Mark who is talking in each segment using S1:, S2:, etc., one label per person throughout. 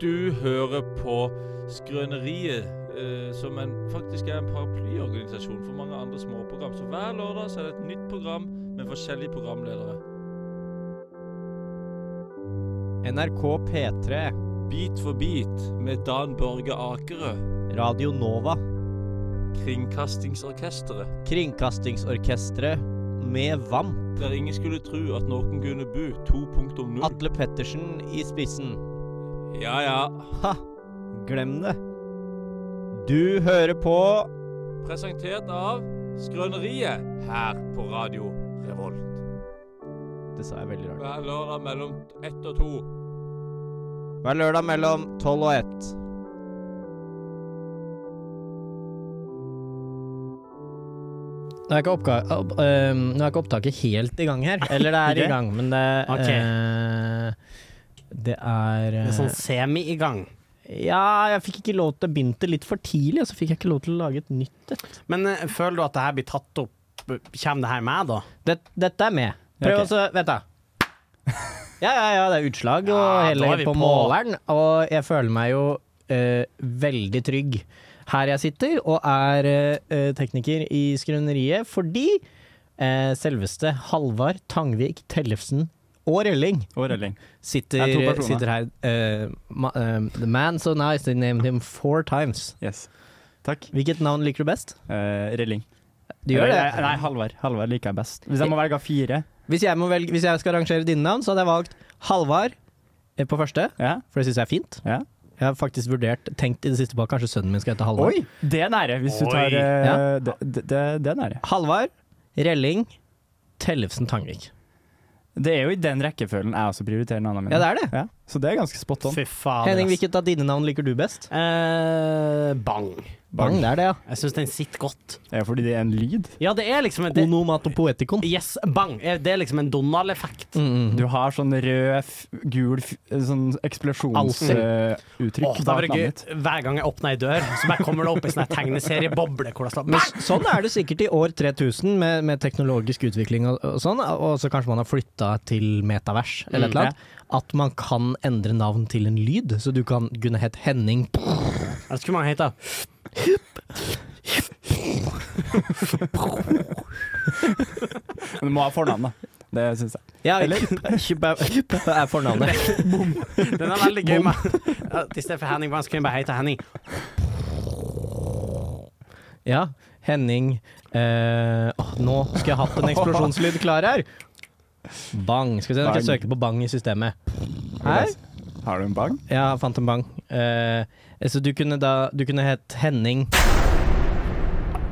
S1: Du hører på Skrøneriet, eh, som en, faktisk er en paraplyorganisasjon for mange andre småprogram. Så hver lørdag så er det et nytt program med forskjellige programledere.
S2: NRK P3,
S1: Bit for bit med Dan Børge Akerø,
S2: Radio Nova,
S1: Kringkastingsorkesteret.
S2: Kringkastingsorkestret med VAMP,
S1: Der ingen skulle tru at noen kunne bu 2.0.
S2: Atle Pettersen i spissen.
S1: Ja ja.
S2: Ha! Glem det. Du hører på
S1: Presentert av Skrøneriet her på Radio Revolt.
S2: Det sa jeg veldig rart.
S1: Hver lørdag mellom ett og to.
S2: Hver lørdag mellom tolv og ett.
S3: Nå er, ikke oppga opp, eh, nå er ikke opptaket helt i gang her. Eller det er
S4: Ok.
S3: i gang, men det
S4: Ok.
S3: eh, Det er
S4: Det
S3: eh,
S4: er sånn semi i gang.
S3: Ja, jeg fikk ikke lov til å begynne litt for tidlig, og så fikk jeg ikke lov til å lage et nytt et.
S4: Men eh, føler du at det her blir tatt opp? Kommer det her med, da?
S3: Det, dette er med. Prøv
S2: Ok.
S3: også Vent, da. Ja, ja, ja, det er utslag og
S4: Ja, da
S3: hele
S4: er vi
S3: på,
S4: på.
S3: måleren, og jeg føler meg jo eh, veldig trygg her jeg sitter og er eh, tekniker i Skrøneriet, fordi eh, selveste Halvard Tangvik Tellefsen og Rølling
S2: Og rølling. Det er to
S3: sitter,
S2: personer.
S3: sitter her. eh, ma, eh, the man so nice, they named him four times.
S2: Yes. Takk.
S3: Hvilket navn liker du best?
S2: Eh, rølling. Eh,
S3: Du gjør det?
S2: Nei, Halvard. Halvard liker jeg best. Hvis jeg må velge av fire
S3: Hvis jeg, må velge, hvis jeg skal rangere dine navn, så hadde jeg valgt Halvard eh, på første,
S2: ja.
S3: for det syns jeg er fint.
S2: Ja.
S3: Jeg har faktisk vurdert, tenkt i det siste på at kanskje sønnen min skal hete Halvard.
S2: Oi! Det er nære, hvis du tar
S4: Oi.
S2: eh,
S3: Ja.
S2: det, det, det- det er nære.
S3: Halvard, Relling, Tellefsen Tangvik.
S2: Det er jo i den rekkefølgen jeg også prioriterer navnene mine.
S3: Ja, det er det.
S2: Ja, så det er ganske spot on.
S4: Fy faen.
S3: Henning,
S4: ass.
S3: hvilket av dine navn liker du best?
S4: Eh, bang.
S3: Bang, det er det, ja.
S4: Jeg syns den sitter godt.
S2: Det er jo fordi det er en lyd.
S4: Ja, det er liksom en det,
S3: Onomatopoetikon.
S4: Yes, bang. Eh, Det er liksom en Donald-effekt.
S3: Mm, mm.
S2: Du har sånn rød, f gul f sånn eh,
S4: Alltid.
S2: eksplosjonsuttrykk
S4: Åh, det hadde vært gøy. Hver gang jeg åpner ei dør, så bare kommer det opp ei sånn her tegneserieboble hvor det står
S3: Men
S4: bang.
S3: s- sånn er det sikkert i år 3000, med, med teknologisk utvikling og, og sånn, og så kanskje man har flytta til metavers eller et
S2: Mm,
S3: eller annet. At man kan endre navn til en lyd, så du kan kunne hett Henning
S4: Jeg skulle man hete
S2: Men du må ha fornavn, da. Det syns jeg.
S3: Ja,
S2: Eller?
S3: er fornavnet.
S4: Den er veldig gøy. Med. Ja, I stedet for Henning Bang, så kunne jeg bare hete Henning.
S3: Ja, Henning eh, åh, Nå skulle jeg hatt en eksplosjonslyd klar her. Bang. Skal vi se, nå skal jeg
S2: Bang.
S3: søke på bang i systemet. Her?
S2: Har du en bang?
S3: Ja, jeg fant en bang. Eh, så du kunne da Du kunne hett Henning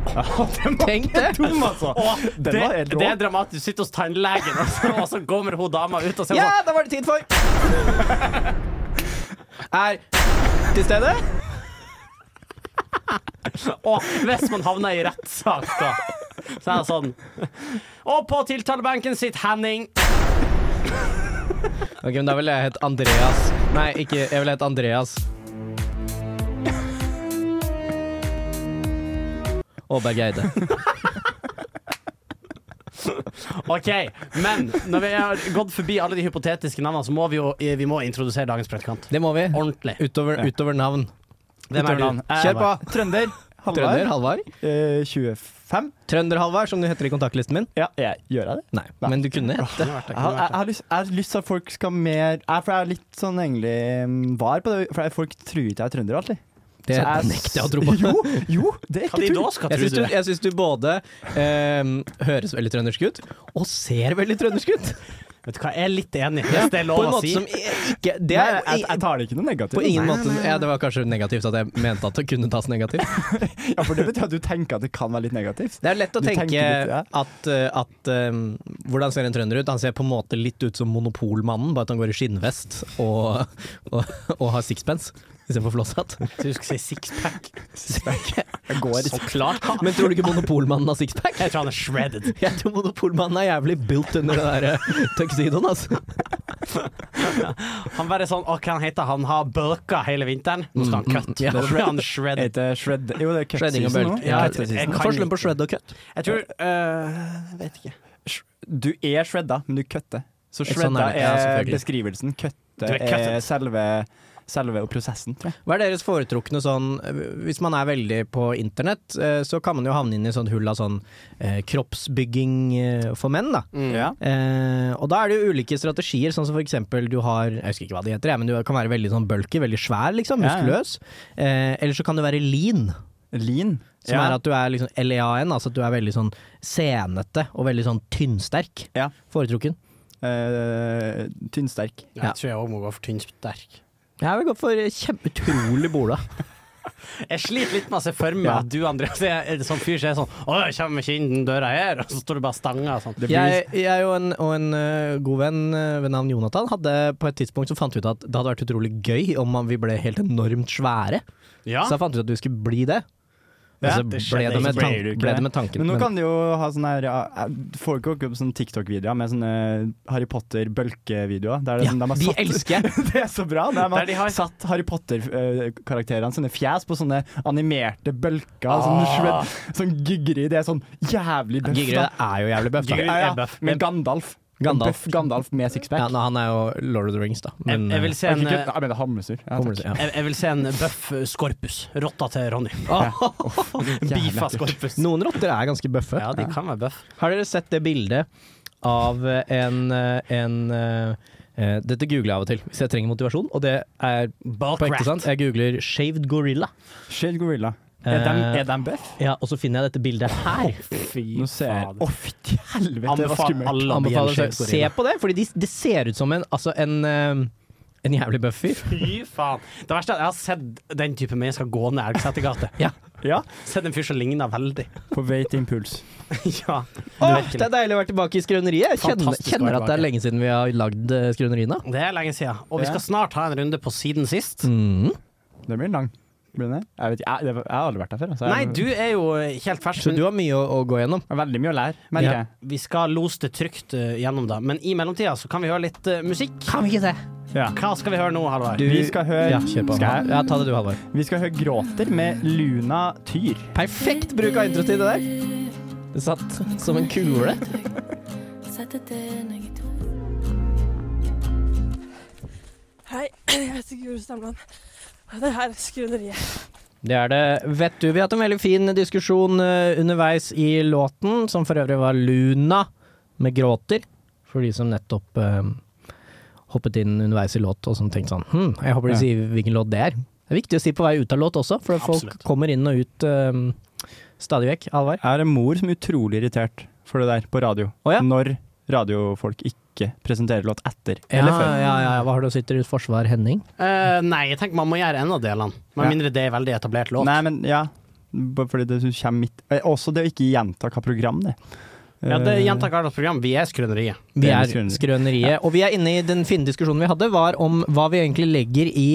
S3: Tenk det!
S2: Dum, altså!
S4: Åh,
S2: Den
S4: det,
S2: var helt rå.
S4: det er dramatisk. Du sitter hos tannlegen, og så, og så kommer hun dama ut og sier sånn,
S3: Ja, da var det tid for Er til stede?
S4: sånn Og hvis man havner i rettssak, da, så er det sånn Og på tiltalebenken sitter Henning.
S3: Ok, men Da ville jeg hett Andreas. Nei, ikke Jeg ville hett Andreas. Åberg Eide.
S4: OK, men når vi har gått forbi alle de hypotetiske navnene, så må vi jo vi må introdusere dagens praktikant.
S3: Det må vi.
S4: Ordentlig.
S3: Utover, utover navn.
S4: Hvem er du?
S2: Kjør på. Trønder.
S3: Trønder Halvard?
S2: Eh, 25?
S3: Trønder Halvard, som du heter i kontaktlisten min?
S2: Ja, jeg gjør jeg det?
S3: Nei, men du kunne hett det.
S2: Jeg har, jeg, har lyst, jeg har lyst til at folk skal mer jeg, For jeg er litt sånn egentlig mm, var på det. For jeg- folk tror ikke jeg er trønder alltid.
S3: Det
S2: Så jeg-
S3: nekter jeg å tro på.
S2: Jo, jo, det er
S4: Hva
S2: ikke
S4: de da
S2: tull.
S4: skal
S3: Jeg
S4: tro
S3: syns
S4: du
S3: du,
S4: er?
S3: jeg syns du både ehm, høres veldig trøndersk ut, og ser veldig trøndersk ut.
S4: Vet du hva, jeg er litt enig, hvis det
S3: På
S4: er
S3: en
S4: lov å
S3: måte
S4: si.
S3: som ikke Det
S2: Nei,
S3: er
S2: jeg, jeg tar det ikke noe negativt.
S3: på ingen måte ja, Det var kanskje negativt at jeg mente at det kunne tas negativt.
S2: Ja, for det betyr at du tenker at det kan være litt negativt.
S3: Det er lett å
S2: Du tenker
S3: tenke
S2: litt, ja.
S3: at, eh, at ehm, Hvordan ser en trønder ut? Han ser på en måte litt ut som Monopolmannen, bare at han går i skinnvest og, og, og har sixpence istedenfor flosshatt.
S4: Du skal si sixpack.
S2: Jeg går
S4: Så klart.
S3: Men tror du ikke Monopolmannen har sixpack?
S4: Jeg tror han er shredded.
S3: Jeg tror Monopolmannen er jævlig built under den der eh, tuxedoen, altså.
S4: Han bare sånn, å, hva han heter han? har bulka hele vinteren. Nå
S3: Mm,
S4: skal han kutte.
S3: ja.
S4: Nå blir han shredded.
S2: Heter det shred... Jo, det er cut
S3: Shredding og
S2: season
S3: belt.
S2: nå.
S4: Ja,
S2: Cut season.
S4: jeg kan
S3: Forskjellen på
S4: ikke.
S3: shred og cut.
S4: Jeg tror
S3: eh,
S4: øh, Jeg vet ikke.
S2: Du er shredda, men du kutter. Så
S3: Sånn er det.
S2: shredda er,
S3: Ja, selvfølgelig.
S2: beskrivelsen. Kutte
S4: Du er
S2: er,
S4: cuttet.
S2: selve selve prosessen, tror jeg.
S3: Hva er deres foretrukne sånn Hvis man er veldig på internett, eh, så kan man jo havne inn i sånn hull av sånn eh, kroppsbygging eh, for menn, da.
S4: Mm.
S2: Ja.
S3: Eh, og da er det jo ulike strategier, sånn som for eksempel du har Jeg husker ikke hva det heter, jeg, men du kan være veldig sånn bulky, veldig svær, liksom.
S2: Ja, ja.
S3: Muskuløs. Eh, eller så kan du være lean,
S2: Lean.
S3: som
S2: ja.
S3: er at du er liksom LEAN, altså at du er veldig sånn senete og veldig sånn tynnsterk.
S2: Ja.
S3: Foretrukken.
S2: Eh, Tynnsterk.
S3: Ja.
S4: Jeg tror jeg òg må gå for tynnsterk.
S3: Jeg vil gå for kjempeutrolig bola.
S4: Jeg sliter litt med å se for meg
S2: Ja.
S4: at du, Andreas, er er sånn fyr som er sånn Å, jeg kommer ikke inn den døra her, og så står du bare og stanger og sånn.
S2: Det blir
S3: Jeg, jeg og en, og en ø, god venn ø, ved navn Jonathan hadde på et tidspunkt så fant vi ut at det hadde vært utrolig gøy om man- vi ble helt enormt svære.
S4: Ja.
S3: Så jeg fant ut at du skulle bli det. Og
S2: Ja,
S3: så
S4: det
S3: ble
S4: skjedde
S3: det
S4: ikke.
S3: med,
S2: Så ble
S3: tank,
S2: du ikke
S3: ble
S2: det.
S3: det med tanken.
S2: Men nå
S3: men-
S2: kan du jo ha sånne her ja, eh, er- Folk går opp sånne TikTok-videoer med sånne eh, Harry Potter-bølkevideoer. Der
S3: ja,
S2: det, er sånn, de har
S3: de
S2: satt,
S3: elsker jeg.
S2: det er så bra! Der man
S4: Der de har-
S2: satt Harry Potter-karakterene sine fjes på sånne animerte bølker. Sånn,
S4: Ah.
S2: svett- sånn Gygri. Det er sånn jævlig bøff.
S3: Giggerud
S2: da.
S3: er jo jævlig bøff.
S2: Ja,
S3: Da.
S4: Gygri.
S2: ja,
S4: er bøff.
S2: Men Gandalf.
S3: Gandalf.
S2: Bøff Gandalf med
S3: Ja,
S2: sixpack.
S3: nei, han er jo Lord of the Rings, da. Men,
S4: jeg, jeg vil
S3: ø,
S4: se en
S2: Ikke
S4: eh,
S2: kødd, jeg mener Hamlesur. Ja,
S3: kommer
S2: takk.
S3: det- ja.
S4: jeg, jeg vil se en bøff skorpus. Rotta til Ronny. Beefa
S2: Jævlig.
S4: skorpus.
S3: Noen rotter er ganske bøffe.
S4: Ja, de kan være bøff.
S3: Har dere sett det bildet av eh, en, eh, en eh, eh, Dette googler jeg av og til hvis jeg trenger motivasjon, og det er på ekte sant.
S4: Bullcrat.
S3: Jeg googler 'shaved gorilla'.
S2: Shade Gorilla. Er de,
S3: Eh,
S2: er de bøff?
S3: ja, og så finner jeg dette bildet her.
S4: Fy
S2: Nå ser jeg
S4: fader.
S2: Å, fytti helvete, det var
S4: Anbefaler
S2: skummelt.
S4: alle å bli en
S3: Anbefaler å
S4: skjevt
S3: se- se
S4: gorilla.
S3: på det, Fordi de, det ser ut som en, altså en, eh, en jævlig buffer.
S4: Fy faen. Det verste er at jeg har sett den type mennesker gå ned Elgsetergata.
S3: Ja.
S2: Ja,
S4: Sett en fyr som ligner veldig.
S2: på vei til impuls.
S4: ja.
S3: Åh, det er deilig å være tilbake i skrøneriet. Jeg kjenner,
S4: Fantastisk å være
S3: kjenner at det er lenge siden vi har lagd eh, skrøneriet nå.
S4: Det er lenge siden. Og vi
S2: Ja.
S4: skal snart ha en runde på siden sist.
S3: Mm.
S2: Det blir lang. Blir det? Jeg, vet, ikke, jeg, det- jeg har aldri vært der før. altså. Så jeg,
S4: Nei, du er jo helt fersk,
S3: Så du
S4: men
S3: har mye å, å gå gjennom.
S2: Det er veldig mye å lære, merker
S3: Ja.
S2: jeg.
S4: vi skal lose det trygt eh, gjennom det. Men i mellomtida så kan vi høre litt eh, musikk.
S3: Kan vi ikke det?
S2: Ja.
S4: Hva skal vi høre nå, Halvard?
S3: Du-
S2: Vi skal høre
S3: Ja, kjør på.
S2: Skal jeg?
S3: Ja, ta det du, Halvor.
S2: Vi skal høre Gråter med Luna Tyr.
S3: Perfekt bruk av introtid, det der. Det satt som en kule.
S5: Sette til begge to.
S6: Hei, jeg heter Guro Stamland. Og det her er Skrøneriet.
S3: Det er det. Vet du, vi har hatt en veldig fin diskusjon eh, underveis i låten, som for øvrig var Luna med gråter, for de som nettopp eh, hoppet inn underveis i låt og som tenkte sånn hm, jeg håper de
S2: Ja.
S3: sier hvilken låt det er. Det er viktig å si på vei ut av låt også, for folk
S4: Absolutt.
S3: kommer inn og ut eh, stadig vekk. Alvar?
S2: Jeg har en mor som er utrolig irritert for det der på radio.
S3: Å ja.
S2: Når radiofolk ikke presenterer låt etter
S3: Ja,
S2: eller før.
S3: ja, ja, hva har du å sitte i forsvar, Henning?
S4: Eh, nei, jeg tenker man må gjøre en av delene. Med
S2: Ja.
S4: mindre det er veldig etablert låt.
S2: Nei, men ja. Bare fordi det kommer midt eh, Også det å ikke gjenta hva program det er.
S4: Ja, det
S2: Eh,
S4: gjentar Kardas program. Vi er Skrøneriet.
S3: Vi
S2: Det er
S3: er
S2: Skrøneriet.
S3: Skrøneriet. Og vi er inne i den fine diskusjonen vi hadde, var om hva vi egentlig legger i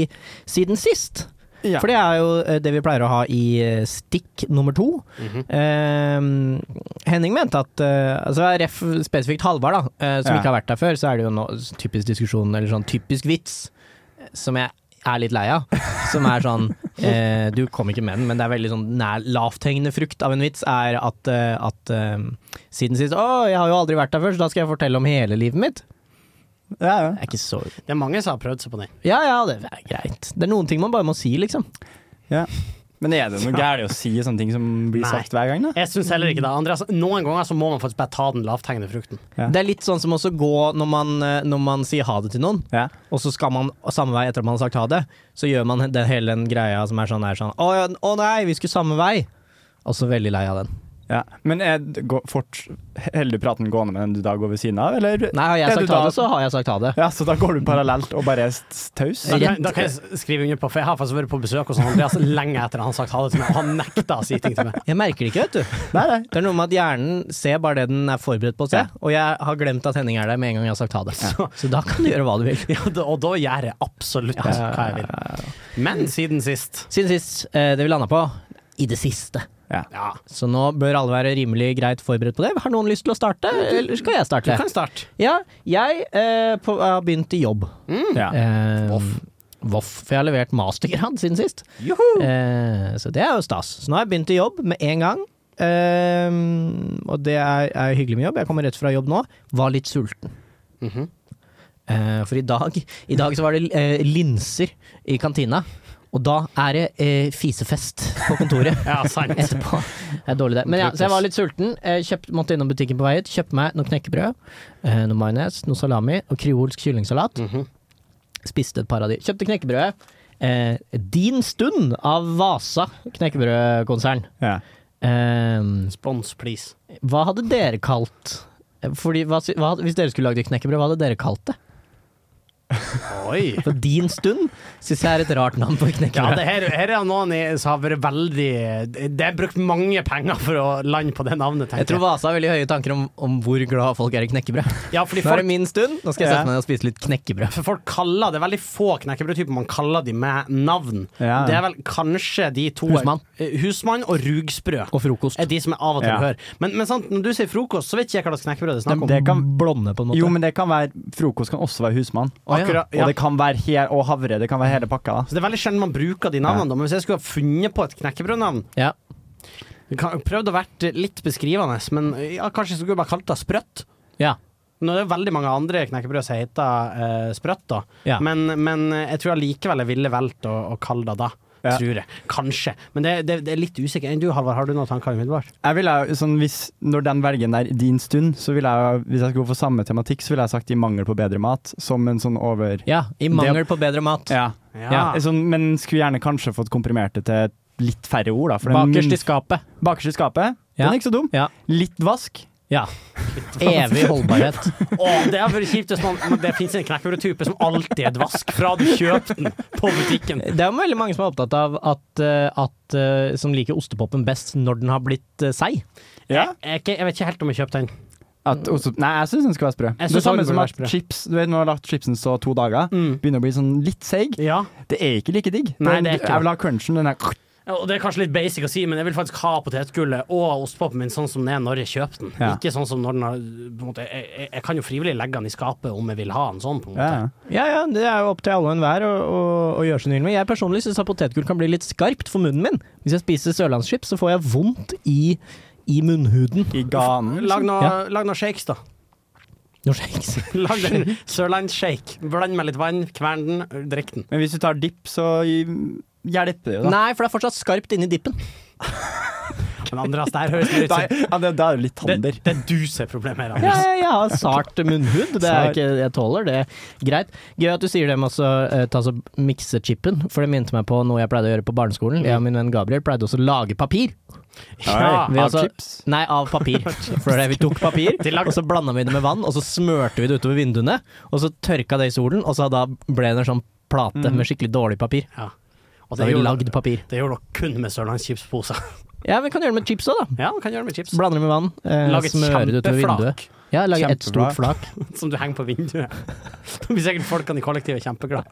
S3: siden sist.
S2: Ja.
S3: For det er jo eh, det vi pleier å ha i eh, stikk nummer to.
S4: Mhm.
S3: Ehm, Henning mente at eh, altså Ref spesifikt Halvard, da, eh, som
S2: Ja.
S3: ikke har vært der før, så er det jo nå typisk diskusjon, eller sånn typisk vits, eh, som jeg er litt lei av. Som er sånn eh, Du kom ikke med den, men det er veldig sånn nær lavthengende frukt av en vits, er at, eh, at eh, siden sist Å, jeg har jo aldri vært der før, så da skal jeg fortelle om hele livet mitt.
S2: Ja, ja.
S3: Det er ikke så
S4: Det er mange som har prøvd seg på den.
S3: Ja ja, det er greit. Det er noen ting man bare må si, liksom.
S2: Men er det noe gærent å si sånne ting som blir
S4: Nei.
S2: sagt hver gang, da?
S4: Jeg syns heller ikke det. Andreas, noen ganger så må man faktisk bare ta den lavthengende frukten.
S2: Ja.
S3: Det er litt sånn som også gå når man, eh, når man sier ha det til noen,
S2: Ja.
S3: og så skal man samme vei etter at man har sagt ha det. Så gjør man den, hele den greia som er sånn, er sånn å, ja, å nei, vi skulle samme vei. Og så veldig lei av den.
S2: ja. Men er det- går- fort holder du praten gående med den du da går ved siden av, eller?
S3: Nei, har jeg
S2: Er du
S3: sagt ha
S2: da-
S3: det, så har jeg sagt ha det.
S2: Ja, så da går du parallelt og bare er st- taus?
S4: Da kan,
S3: Rett-
S4: da kan jeg s- skrive under på, for jeg har faktisk vært på besøk hos Andreas lenge etter han har sagt ha det til meg, og han nekta å si ting til meg.
S3: Jeg merker det ikke, vet du.
S2: Nei, nei.
S3: Det er noe med at hjernen ser bare det den er forberedt på å se,
S2: Ja.
S3: og jeg har glemt at Henning er der med en gang jeg har sagt ha det. Så, så da kan du gjøre hva du vil.
S4: Ja, da, og da gjør jeg absolutt hva jeg vil. Men siden sist
S3: Siden sist, eh, det vi landa på, i det siste.
S4: Ja,
S3: Så nå bør alle være rimelig greit forberedt på det. Har noen lyst til å starte, eller skal jeg
S4: du
S3: starte?
S4: kan starte.
S3: Ja, jeg eh, på, har begynt i jobb.
S4: Mm.
S2: Ja.
S3: Eh,
S4: Voff.
S3: Voff. For jeg har levert mastergrad siden sist.
S4: Juhu!
S3: Eh, så det er jo stas. Så nå har jeg begynt i jobb med en gang. Eh,
S4: Mhm.
S3: og det er, er hyggelig med jobb. Jeg kommer rett fra jobb nå. Var litt sulten. Eh, for i dag, i dag så var det eh, linser i kantina, og da er det eh, fisefest på kontoret
S4: Ja, sant.
S3: etterpå. Det er dårlig det. Men ja, så jeg var litt sulten. eh, Kjøpt, måtte innom butikken på vei ut. Kjøpte meg noe knekkebrød, eh, noe majones, noe salami og kreolsk kyllingsalat.
S4: Mhm.
S3: Spiste et par av de. Kjøpte knekkebrødet. Eh, din stund av Vasa knekkebrødkonsern.
S2: Ja.
S3: Eh,
S4: Spons, please.
S3: hva hadde dere kalt eh, fordi, hva, sy- hva, hadde- Hvis dere skulle lagd et knekkebrød, hva hadde dere kalt det?
S4: Oi.
S3: For din stund syns jeg er et rart navn på et
S4: Ja,
S3: knekkebrød.
S4: det her, her er noen i- som har vært veldig Det er brukt mange penger for å lande på det navnet,
S3: jeg tror
S4: tenker jeg.
S3: Vasa har veldig høye tanker om, om hvor glad folk er i knekkebrød.
S4: Ja, fordi
S3: Nå er det
S4: folk,
S3: min stund, nå skal jeg
S2: Ja.
S3: sette meg ned og spise litt knekkebrød.
S4: for folk kaller Det er veldig få knekkebrødtyper man kaller de med navn.
S2: Ja.
S4: Det er vel kanskje de to
S3: Husmann.
S4: Eh, Husmann og rugsprø.
S3: Og frokost.
S4: Er de som jeg av og til
S2: Ja.
S4: hører. Men, men sant, når du sier frokost, så vet ikke jeg hva slags knekkebrød det er snakk om.
S2: Det kan,
S3: blonde, på en måte.
S2: jo, men det kan være Frokost kan også være husmann.
S3: Å, ja.
S4: Akkurat, ja.
S2: Og det kan være he og havre. Det kan være hele pakka. da
S4: Så det er veldig sjelden man bruker de navnene, da. men hvis jeg skulle ha funnet på et knekkebrødnavn
S3: Ja.
S4: jeg kan- Prøvd å være litt beskrivende, men ja, kanskje jeg skulle bare kalt det sprøtt.
S3: Ja.
S4: Nå er det veldig mange andre knekkebrød som heter eh, sprøtt, da.
S3: Ja.
S4: Men, men eh, jeg tror allikevel jeg ville valgt å, å kalle det det.
S2: Ja.
S4: Tror jeg. Kanskje. Men det, det, det er litt usikker. Enn Du, Halvard, har du noen tanker umiddelbart?
S2: Jeg ville jo, sånn, hvis, Når den velgen der din stund, så ville jeg jo- hvis jeg skulle gå for samme tematikk, så ville jeg sagt i mangel på bedre mat, som en sånn over...
S3: ja, I mangel på bedre mat.
S2: Ja.
S3: Ja,
S2: En Sånn, men skulle gjerne kanskje fått komprimert det til litt færre ord, da. For den
S3: Bakerst
S2: minst-
S3: i skapet.
S2: bakerst i skapet.
S3: Ja.
S2: Den er ikke så dum.
S3: Ja.
S2: Litt vask.
S3: Ja. Evig holdbarhet.
S4: Åh, det hadde vært kjipt hvis man men Det finnes en knekkebrødtype som alltid er dvask fra du kjøpte den på butikken.
S3: Det er jo veldig mange som er opptatt av at, eh, at eh, som liker ostepopen best når den har blitt eh, seig.
S2: Ja.
S4: Jeg, er ikke- jeg vet ikke helt om jeg kjøpte den.
S2: At, også, Mm. nei, jeg syns den skal være sprø.
S4: Jeg
S2: Det
S4: synes
S2: er samme
S4: også den burde
S2: som at
S4: være sprø. Mm.
S2: chips Du vet, Nå har jeg lagt chipsen stå to dager. Begynner å bli sånn litt seig.
S4: Ja.
S2: Det er ikke like digg.
S4: Nei,
S2: Den-
S4: det er ikke det.
S2: jeg vil ha crunchen. Den er
S4: Ja, Og Det er kanskje litt basic å si, men jeg vil faktisk ha potetgullet og ostpopen min sånn som den er når jeg kjøper den.
S2: Ja.
S4: Ikke sånn som når den har på en måte, jeg, jeg, jeg kan jo frivillig legge den i skapet om jeg vil ha den sånn, på en måte.
S2: ja.
S3: Ja, ja, det er jo opp til alle og enhver å, å, å gjøre sin hylle med. Jeg personlig syns potetgull kan bli litt skarpt for munnen min. Hvis jeg spiser sørlandschips, så får jeg vondt i, i munnhuden.
S2: I ganen.
S4: Lag noe,
S3: Ja.
S4: lag noe shakes, da.
S3: Når jeg ikke sier-
S4: Lag en sørlandsshake. Bland med litt vann, kvern den, drikk den.
S2: Men hvis du tar dipp, så i- hjelper det jo, da.
S3: Nei, for det er fortsatt skarpt inni dippen.
S4: Men Andreas, det her høres litt
S2: Da,
S4: ut
S2: ja, det, da er det litt
S4: som det,
S2: tander.
S4: det er du som er problemet her,
S3: Ja,
S4: Anders.
S3: jeg har sart munnhud. Det er
S2: Sart.
S3: ikke, jeg tåler det. Greit. Gøy at du sier det med å så, eh, ta så mikse chipen, for det minte meg på noe jeg pleide å gjøre på barneskolen. Jeg og min venn Gabriel pleide også å lage papir.
S4: Ja.
S3: Vi
S2: Av
S3: altså-
S2: chips.
S3: Nei, av papir. For det, vi tok papir,
S4: De lagde-
S3: og så blanda vi det med vann, og så smørte vi det utover vinduene. Og så tørka det i solen, og så da ble det en sånn plate med skikkelig dårlig papir.
S4: Ja. Og
S3: Da
S4: det
S3: har vi
S4: gjorde
S3: lagd papir.
S4: det gjorde dere kun med sørlandschipsposer.
S3: Ja, vi kan gjøre det med chips òg, da.
S4: Ja, du kan gjøre det med chips.
S3: Blander det med vann, eh,
S4: Lag et
S3: smører det utover vinduet.
S4: kjempeflak
S3: Ja, lage ett stort
S2: Kjempeflak.
S3: flak.
S4: som du henger på vinduet. Da blir sikkert folkene i kollektivet kjempeglade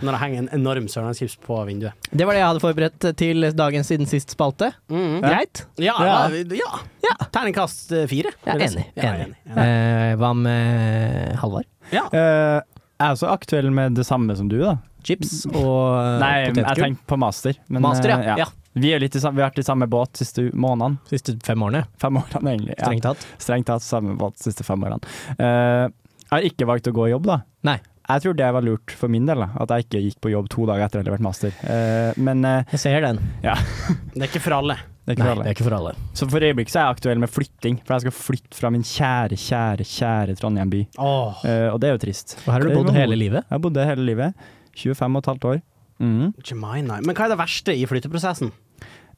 S4: når det henger en enorm sørlandschips på vinduet.
S3: Det var det jeg hadde forberedt til dagens siden sist spalte. Greit?
S4: Ja,
S2: Ja.
S4: ja. Terningkast eh, fire.
S3: Ja,
S4: vil jeg si.
S3: enig.
S4: Ja,
S3: enig.
S4: enig.
S3: Eh, hva med Halvard?
S2: Eh, jeg er også aktuell med det samme som du, da.
S3: Chips
S4: Eh,
S3: og eh,
S2: Nei, jeg
S3: potetgull?
S2: tenker på master. men,
S3: Master,
S2: eh,
S3: ja. ja.
S2: Vi, er litt i sam vi har vært i samme båt siste månedene.
S3: Siste fem årene,
S2: Fem årene, egentlig. Ja.
S3: strengt tatt.
S2: Strengt tatt samme båt de siste fem årene. Eh, jeg har ikke valgt å gå i jobb, da.
S3: Nei.
S2: Jeg tror det var lurt for min del, da, at jeg ikke gikk på jobb to dager etter jeg hadde levert master. Eh, men eh,
S3: Jeg ser den.
S4: Det er ikke for alle.
S2: det er
S3: Nei, det
S2: ikke for
S3: er
S2: alle.
S3: ikke for alle.
S2: Så for øyeblikket så er jeg aktuell med flytting, for jeg skal flytte fra min kjære, kjære, kjære Trondheim by.
S4: Åh,
S2: Eh, og det er jo trist.
S3: Og her har du
S2: Det
S3: bodd
S2: var
S3: hele
S2: moro.
S3: livet.
S2: Jeg har bodd det hele livet. 25 og et halvt år.
S3: Mm.
S2: Mhm.
S4: Jemina. Men hva er det verste i flytteprosessen?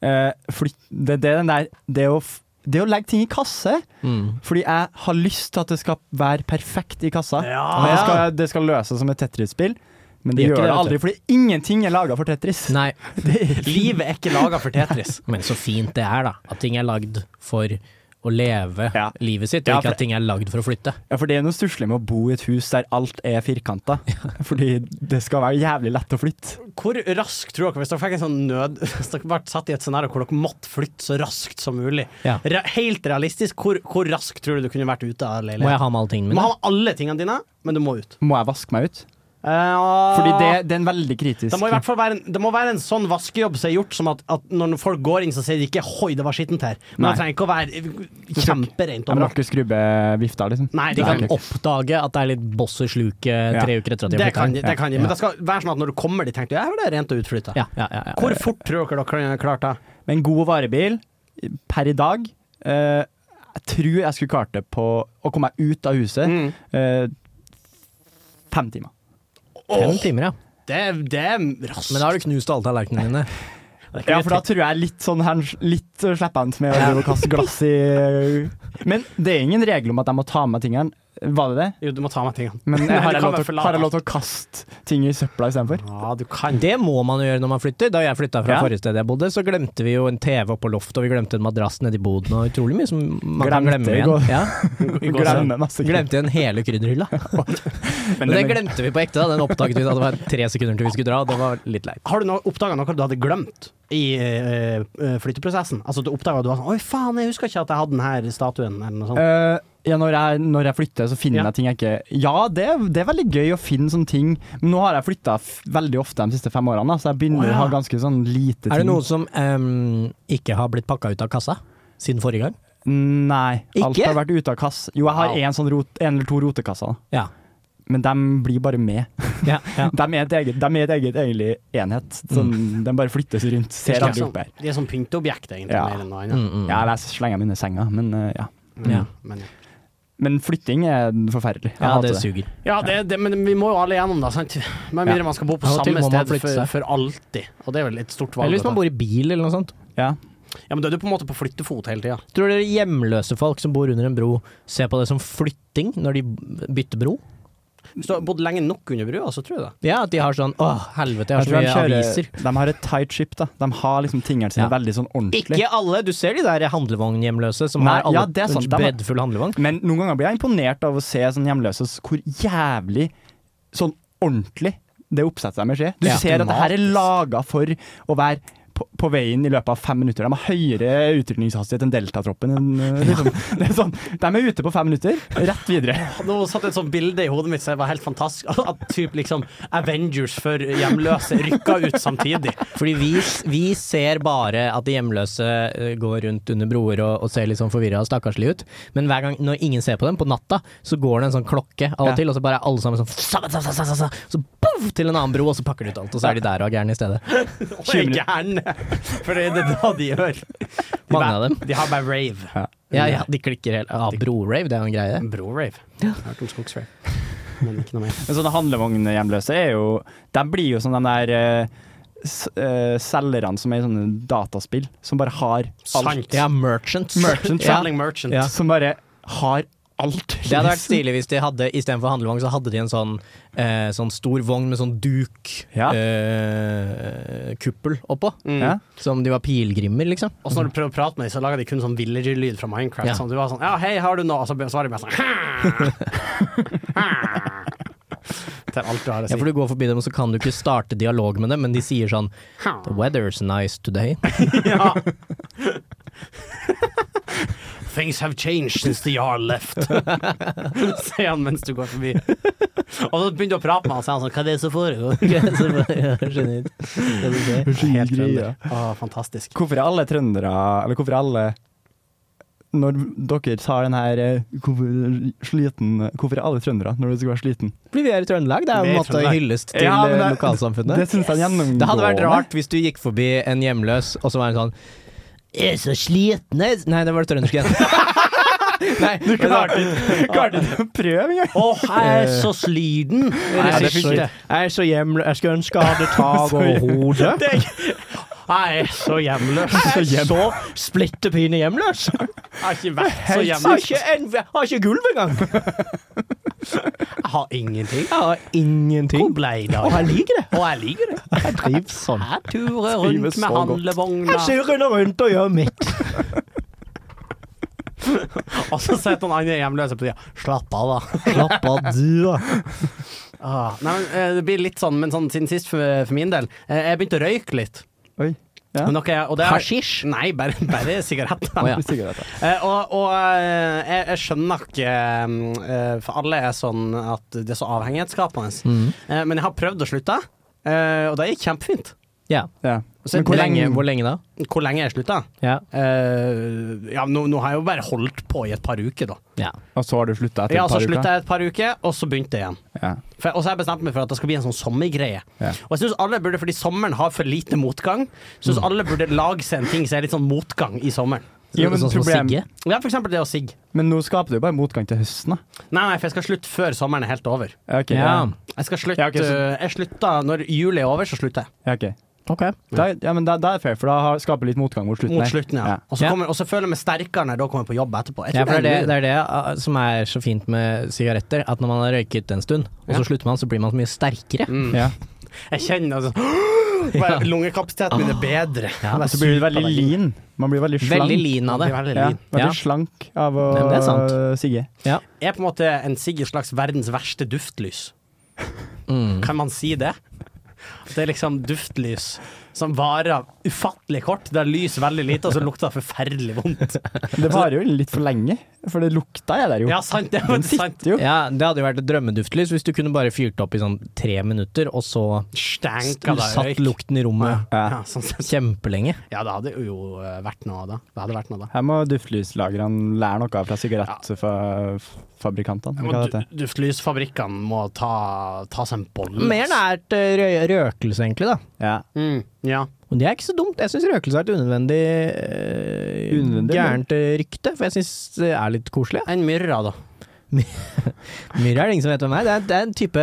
S2: Eh, flytt, det, det, er den der, det, å, f- det å legge ting i kasse,
S3: Mm.
S2: fordi jeg har lyst til at det skal være perfekt i kassa. Og
S4: Ah.
S2: Det, skal, det skal løses som et Tetris-spill, men
S3: Det gjør
S2: det, gjør
S3: ikke
S2: det
S3: det,
S2: aldri, fordi ingenting er laga for Tetris.
S3: Nei,
S4: Livet er ikke laga for Tetris.
S3: men så fint det er, da. At ting er lagd for å leve
S2: Ja.
S3: livet sitt, og
S2: Ja,
S3: ikke
S2: for-
S3: at ting er lagd for å flytte.
S2: Ja, for det er noe stusslig med å bo i et hus der alt er firkanta, fordi det skal være jævlig lett å flytte.
S4: Hvor raskt tror dere, hvis dere fikk en sånn nød Hvis dere ble satt i et scenario hvor dere måtte flytte så raskt som mulig,
S3: Ja.
S4: Re helt realistisk, hvor, hvor raskt tror du du kunne vært ute av
S3: Må jeg
S4: leiligheten?
S3: ha med alle tingene
S4: Du må
S3: mine?
S4: ha med alle tingene dine, men du må ut.
S2: Må jeg vaske meg ut? Fordi det, det er en veldig kritisk
S4: Det Ah. må i hvert fall være en, det må være en sånn vaskejobb som er gjort som at, at når folk går inn, så sier de ikke 'hoi, det var skittent her'. Men
S2: Nei.
S4: det trenger ikke å være
S2: skal
S4: kjemperent
S2: Jeg må
S4: overalt.
S2: ikke skrubbe vifta, liksom.
S4: Nei,
S3: De
S4: det
S3: kan
S4: kan,
S2: Nei.
S3: oppdage at det er litt boss i sluket tre uker etter at de har
S4: det kan,
S3: flyttet.
S4: de, det kan de. Men
S3: Ja.
S4: det skal være sånn at når du kommer dit, tenker du 'jeg var det rent og utflytta'.
S3: Ja, ja, ja, ja.
S4: Hvor fort tror dere dere klarte det?
S2: Men en god varebil per i dag eh, Jeg tror jeg skulle klart det på å komme meg ut av huset
S4: Mm.
S2: eh, fem timer.
S3: Fem timer, ja.
S4: Det, det er raskt.
S3: Men da har du knust alle tallerkenene dine.
S2: Ja, for da tror jeg litt sånn her, litt eh, slepphendt med å drive og kaste glass i Men det er ingen regel om at jeg må ta med meg tingene. Var det det?
S4: Jo, du må ta med tingene.
S2: Men
S4: Nei,
S2: har
S4: du
S2: jeg,
S4: kan
S2: lov
S4: bare
S2: til,
S4: forlate
S2: å- har jeg lov til å kaste ting i søpla istedenfor?
S4: Ja, du kan det.
S3: Det må man jo gjøre når man flytter. Da jeg flytta fra
S2: Ja.
S3: forrige sted jeg bodde, så glemte vi jo en TV opp på loftet, og vi glemte en madrass nedi boden, og utrolig mye som man kan
S2: Glemte
S3: glemme
S2: i
S3: igjen.
S2: går.
S3: Ja.
S2: Glemme masse ting.
S3: Glemte igjen hele krydderhylla. Men det glemte vi på ekte, da. Den oppdaget vi da det var tre sekunder til vi skulle dra, og det var litt leit.
S4: Har du no oppdaga noe du hadde glemt i eh, eh, flytteprosessen? Altså, du oppdaga at du var sånn 'oi, faen, jeg husker ikke at jeg hadde den her statuen', eller noe sånt.
S2: Eh, ja, når jeg, når jeg flytter, så finner
S4: Ja.
S2: jeg ting jeg ikke Ja, det, er- det er veldig gøy å finne sånne ting. Men nå har jeg flytta veldig ofte de siste fem årene, da, så jeg begynner
S4: Å, ja.
S2: å ha ganske sånn lite ting.
S3: Er det noe som ehm, ikke har blitt pakka ut av kassa siden forrige gang?
S2: Nei. Alt
S3: Ikke?
S2: har vært ute av kass. Jo, jeg har
S3: Wow.
S2: en, sånn rot, en eller to rotekasser, da.
S3: Ja.
S2: men de blir bare med.
S3: ja, ja. Mm.
S2: De er et eget, dem er et eget egentlig enhet. Sånn, De bare flyttes rundt. Ser
S4: Det er
S2: andre
S4: sånn-
S2: opp her.
S4: Det er sånn pynteobjekt, egentlig,
S2: Ja.
S4: mer enn noe annet.
S3: Mm, mm.
S2: Ja, jeg slenger dem under senga, men eh, ja.
S3: Ja.
S4: Mm. Men, ja.
S2: Men flytting er forferdelig. Jeg
S3: ja, det
S2: hater det.
S3: suger.
S4: Ja, det, det, men vi må jo alle gjennom, da. sant? Med mindre man skal bo på
S3: Av og til
S4: samme
S3: må man
S4: sted
S3: flytte
S4: for,
S3: seg.
S4: for alltid. Og det er vel et stort valg.
S3: Eller hvis
S4: å
S3: man
S4: ta.
S3: bor i bil eller noe sånt.
S2: Ja.
S4: Ja, Men da er du på en måte på flyttefot hele tida.
S3: Tror dere hjemløse folk som bor under en bro, ser på det som flytting når de bytter bro?
S4: Hvis du har bodd lenge nok under brua, så tror jeg det.
S3: Ja, at de har sånn åh, helvete, jeg har
S2: Jeg
S3: så
S2: tror de,
S3: mye
S2: kjører,
S3: aviser.
S2: de har et tight ship, da. De har liksom tingene
S3: Ja.
S2: sine veldig sånn ordentlig.
S3: Ikke alle, du ser de der handlevognhjemløse som
S2: Nei,
S3: har alle
S2: ja, det er sant, de har-
S3: breddfull handlevogn.
S2: Men noen ganger blir jeg imponert av å se sånn hjemløse s- hvor jævlig sånn ordentlig det oppsettet deres er. Du
S3: Ja.
S2: ser at det her er laga for å være på, på veien i løpet av fem minutter. De har høyere utrydningshastighet enn deltatroppen. enn, eh, Liksom. Det er sånn, de er ute på fem minutter, rett videre.
S4: Nå satt et sånt bilde i hodet mitt som var helt fantastisk. At typ liksom Avengers for hjemløse rykka ut samtidig.
S3: Fordi vi, vi ser bare at de hjemløse eh, går rundt under broer og, og ser litt sånn forvirra og stakkarslige ut. Men hver gang når ingen ser på dem, på natta, så går det en sånn klokke av og
S2: Ja.
S3: til, og så bare er alle sammen sånn sa, sa, sa, sa, sa, sa, Så boff til en annen bro, og så pakker de ut alt, og så er de der og er gærne i stedet.
S4: Og er gærne! For det er det da de gjør. De,
S3: Mange
S4: bare-
S3: av dem.
S4: de har bare rave.
S3: Ja, ja, de klikker helt Ja, brorave, det er jo en greie.
S4: Bro-rave. Hørt om skogsrave. Men ikke noe mer.
S2: Men sånne handlevognhjemløse er jo De blir jo sånn de der eh, s- eh, selgerne som er i sånne dataspill, som bare har alt.
S4: Sant.
S3: Ja, merchants. ja.
S2: Merchants,
S4: Traveling merchant.
S3: Ja.
S2: Som bare har alt.
S3: Det hadde vært stilig hvis de hadde istedenfor handlevogn, så hadde de en sånn, eh, sånn stor vogn med sånn duk
S2: Ja.
S3: eh, kuppel oppå.
S4: Mm.
S2: Ja.
S3: Som de var pilegrimer, liksom.
S4: Og så når du prøver å prate med dem, så lager de kun sånn villager-lyd fra Minecraft.
S3: Ja.
S4: Sånn, du var sånn 'Ja, hei, har du noe?' Og så svarer de bare sånn Det er alt du har å si.
S3: Ja, for du går forbi dem, og så kan du ikke starte dialog med dem, men de sier sånn The weather's nice today.
S4: Ja. Things have changed since the yard left. Sier han mens du går forbi. Og så begynner du å prate med han, og så er han sånn 'Hva er det som foregår?'
S2: Helt
S4: Trønder. Å, fantastisk.
S2: Hvorfor er alle trøndere Eller hvorfor er alle Når dere tar den her eh, Hvorfor sliten Hvorfor er alle trøndere når du skal være sliten?
S3: Blir vi her i Trøndelag? Det er jo
S4: Vi er i
S3: en måte
S4: Trøndelag.
S3: hyllest til
S2: Ja, men
S3: eh,
S2: det-
S3: lokalsamfunnet.
S2: Det syns jeg er gjennomgående.
S3: Det hadde vært rart hvis du gikk forbi en hjemløs, og så var hun sånn Jeg er så sliten jeg». Nei, det var det trøndersk igjen. Nei,
S2: Du klarte ikke- klarte ikke å prøve engang!
S4: Å, jeg er så sliten!
S3: Eh. Nei, det
S4: Jeg er
S3: fikk ikke.
S4: så-
S3: Jeg er så hjemløs. Jeg skulle ønske jeg hadde tak over hodet.
S4: jeg er så hjemløs.
S3: Jeg er så splittepine hjemløs. Jeg
S4: Jeg har ikke vært så
S3: har
S4: hjemløs.
S3: ikke, en, jeg har ikke gulv engang.
S4: Jeg har ingenting.
S3: Jeg har
S4: Hvor
S3: ingenting.
S4: ble jeg av?
S3: Og jeg liker det.
S4: Og jeg liker det.
S3: Jeg trives sånn.
S4: Jeg turer
S2: Trives
S4: rundt
S2: så
S4: med
S2: godt.
S4: handlevogna.
S3: Jeg surrer rundt og gjør mitt.
S4: Og så sitter han andre hjemløse på sida. Slapp av, da.
S3: Slapp av, du.
S4: Ah, nei, men, eh, det blir litt sånn, men sånn siden sist for, for min del. Eh, jeg begynte å røyke litt.
S2: Oi. Ja.
S4: Men dere- og det er-
S3: Hasjisj?
S4: Nei, bare, bare sigaretter.
S3: Å, ja.
S2: Sigaretter.
S4: Eh, og og eh, jeg, jeg skjønner ikke eh, For alle er sånn at det er så avhengighetsskapende.
S3: Mm.
S4: Eh, men jeg har prøvd å slutte, eh, og det gikk kjempefint.
S3: Ja.
S2: Ja.
S3: Så hvor, lenge, hvor lenge da?
S4: Hvor lenge jeg slutta?
S3: Ja.
S4: Eh, ja, nå, nå har jeg jo bare holdt på i et par uker, da.
S3: ja.
S2: Og så har du slutta etter
S4: Ja,
S2: et
S4: så
S2: par uker?
S4: slutta jeg et par uker, og så begynte jeg igjen.
S2: Ja.
S4: For, og så har jeg bestemt meg for at det skal bli en sånn sommergreie.
S2: Ja.
S4: Og jeg synes alle burde, fordi sommeren har for lite motgang, syns alle burde lage seg en ting som er litt sånn motgang i sommeren.
S2: Jo, men
S3: sånn som å
S2: problem-
S3: sigge?
S4: Ja, for eksempel det å sigge.
S2: Men nå skaper du jo bare motgang til høsten, da.
S4: Nei, nei, for jeg skal slutte før sommeren er helt over.
S2: Ok,
S3: Ja.
S4: Jeg skal slutte eh,
S2: Ja, ok, så-
S4: Jeg slutta når juli er over, så slutter jeg.
S2: Ja, ok.
S3: Ok.
S2: Da, ja, men da, da er det fair, for da har- skaper litt motgang mot slutten.
S4: Mot
S2: her.
S4: slutten, ja.
S2: Ja.
S4: Og, så
S3: Ja.
S4: kommer, og så føler jeg meg sterkere når jeg da kommer på jobb etterpå. Jeg
S3: Ja, for
S4: tror
S3: det er det, det
S4: det,
S3: er det ah, som er så fint med sigaretter, at når man har røyket en stund, og
S4: Ja.
S3: så slutter man, så blir man så mye sterkere.
S4: mm.
S2: Ja.
S4: Jeg kjenner altså bare Lungekapasiteten min er bedre.
S3: Ja,
S2: Og så blir du veldig lean. Man blir veldig slank.
S3: Veldig lean av det.
S4: Veldig
S2: Ja,
S4: lean.
S2: veldig
S3: Ja.
S2: slank av å
S3: Ja, men det er sant.
S2: sigge.
S4: Er på en måte en sigg et slags verdens verste duftlys.
S3: Mm.
S4: Kan man si det? Det er liksom duftlys som varer ufattelig kort. Det er lys veldig lite, og så lukter det forferdelig vondt.
S2: Det varer jo litt for lenge, for det lukta er der jo.
S4: Ja, sant. Det er
S2: Den
S4: jo sant.
S2: sitter jo.
S3: Ja, det hadde jo vært et drømmeduftlys hvis du kunne bare fyrt opp i sånn tre minutter, og så
S4: Stenka det
S3: satt lukten i rommet
S2: Ja.
S4: Ja, sånn sett.
S3: kjempelenge.
S4: Ja, det hadde jo eh, vært noe av det. Det hadde vært noe av det.
S2: Her må duftlyslagrene lære noe fra sigarettfabrikantene. Hva heter det?
S4: Du- Duftlysfabrikkene må ta, ta seg en bolle. altså.
S3: Mer nært eh, rø røkelse, egentlig, da.
S2: Ja.
S4: Mm, ja.
S3: Og det er ikke så dumt. Jeg syns røkelse har et unødvendig, eh,
S2: Unødvendig,
S3: gærent eh, rykte, for jeg syns det er litt koselig.
S4: En myrra, da.
S3: Myrra er det ingen som vet hvem er. Det er, det er en type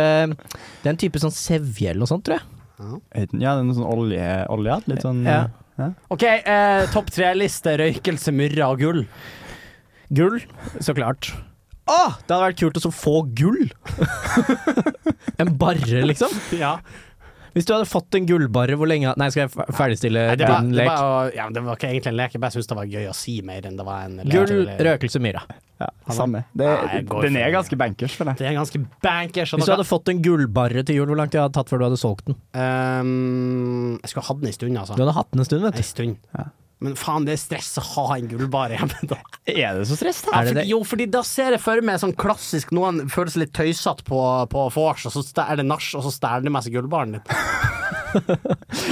S3: Det er en type sånn sevje eller noe sånt, tror jeg.
S2: Ja, det er noe sånn olje, olje litt sånn
S3: Ja.
S4: OK, eh, topp tre-liste røykelse, myrra og gull.
S3: Gull, så klart. Åh, det hadde vært kult å så få gull! en barre, liksom.
S4: Ja.
S3: Hvis du hadde fått en gullbarre, hvor lenge Nei, skal jeg fe- ferdigstille
S4: Nei, det, var,
S3: din
S4: det,
S3: lek?
S4: var, jo- ja, men det var ikke egentlig en lek, jeg bare syntes det var gøy å si mer enn det var en lek.
S3: Gull, røkelse, myra.
S2: ja, samme. Det,
S4: Nei, jeg går
S2: den
S4: for-
S2: er ganske bankers for deg.
S4: Det er ganske bankers. og
S3: Hvis du
S4: dere-
S3: hadde fått en gullbarre til jul, hvor lang tid hadde det tatt før du hadde solgt den?
S4: Ehm, jeg skulle hatt den en stund, altså.
S3: Du hadde hatt den en stund, vet
S4: En
S3: du.
S4: stund.
S2: Ja.
S4: Men faen, det er stress å ha en gullbar hjemme. Da.
S2: Er det så stress, da?
S3: Er det
S4: Fordi,
S3: det?
S4: jo, fordi da ser jeg for meg sånn klassisk noen føles litt tøysete på, på vors, og så sta- er det nach, og så stjeler de med seg gullbaren din.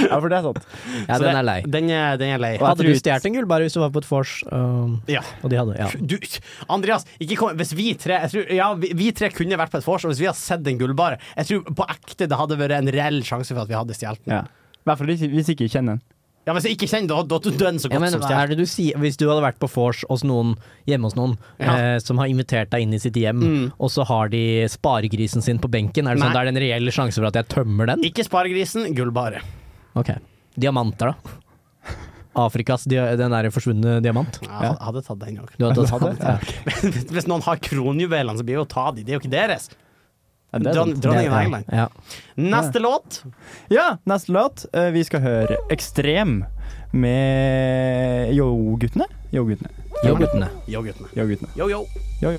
S2: Ja, for det er sant.
S3: Ja,
S4: Så
S3: den
S4: det-
S3: er lei.
S4: Den er, den er lei.
S2: jeg
S3: Hadde
S2: tror
S3: du
S2: ikke-
S3: stjålet en gullbarre hvis du var på et vors, um,
S4: Ja.
S3: og de hadde Ja.
S4: Du, Andreas, ikke kom, hvis vi tre jeg tror, Ja, vi, vi tre kunne vært på et vors, og hvis vi hadde sett en gullbar Jeg tror på ekte det hadde vært en reell sjanse for at vi hadde stjålet den. Ja.
S2: Ja. I hvert fall hvis hvis ikke jeg kjenner den.
S4: men hvis jeg ikke kjenner det, da er du dønn så
S3: Ja,
S4: godt
S3: men
S4: som
S3: hva er
S4: stjålet.
S3: det du sier Hvis du hadde vært på vors hos noen, hjemme hos noen,
S4: Ja. Mm.
S3: eh, som har invitert deg inn i sitt hjem, og så har de sparegrisen sin på benken, er det
S4: Nei.
S3: sånn det er en reell sjanse for at jeg tømmer den?
S4: Ikke sparegrisen, gullbare.
S3: Ok. Diamanter, da? Afrikas dia den der forsvunne diamant?
S4: Jeg hadde- hadde tatt den òg.
S3: Du hadde
S2: Du
S3: tatt
S2: hadde?
S3: ja.
S4: Hvis noen har kronjuvelene, så blir jo å ta de. Det er jo ikke deres.
S2: Ja, det er
S4: Dron-
S2: sant.
S4: Dronningen av
S3: Ja,
S4: England.
S3: Ja.
S4: Neste låt.
S2: Ja, neste låt. eh, Vi skal høre Ekstrem med Yo-guttene. Yo-guttene.
S3: Jo, guttene.
S4: Yo, guttene.
S2: Yo-guttene.
S4: Yo, yo.
S2: Yo, yo.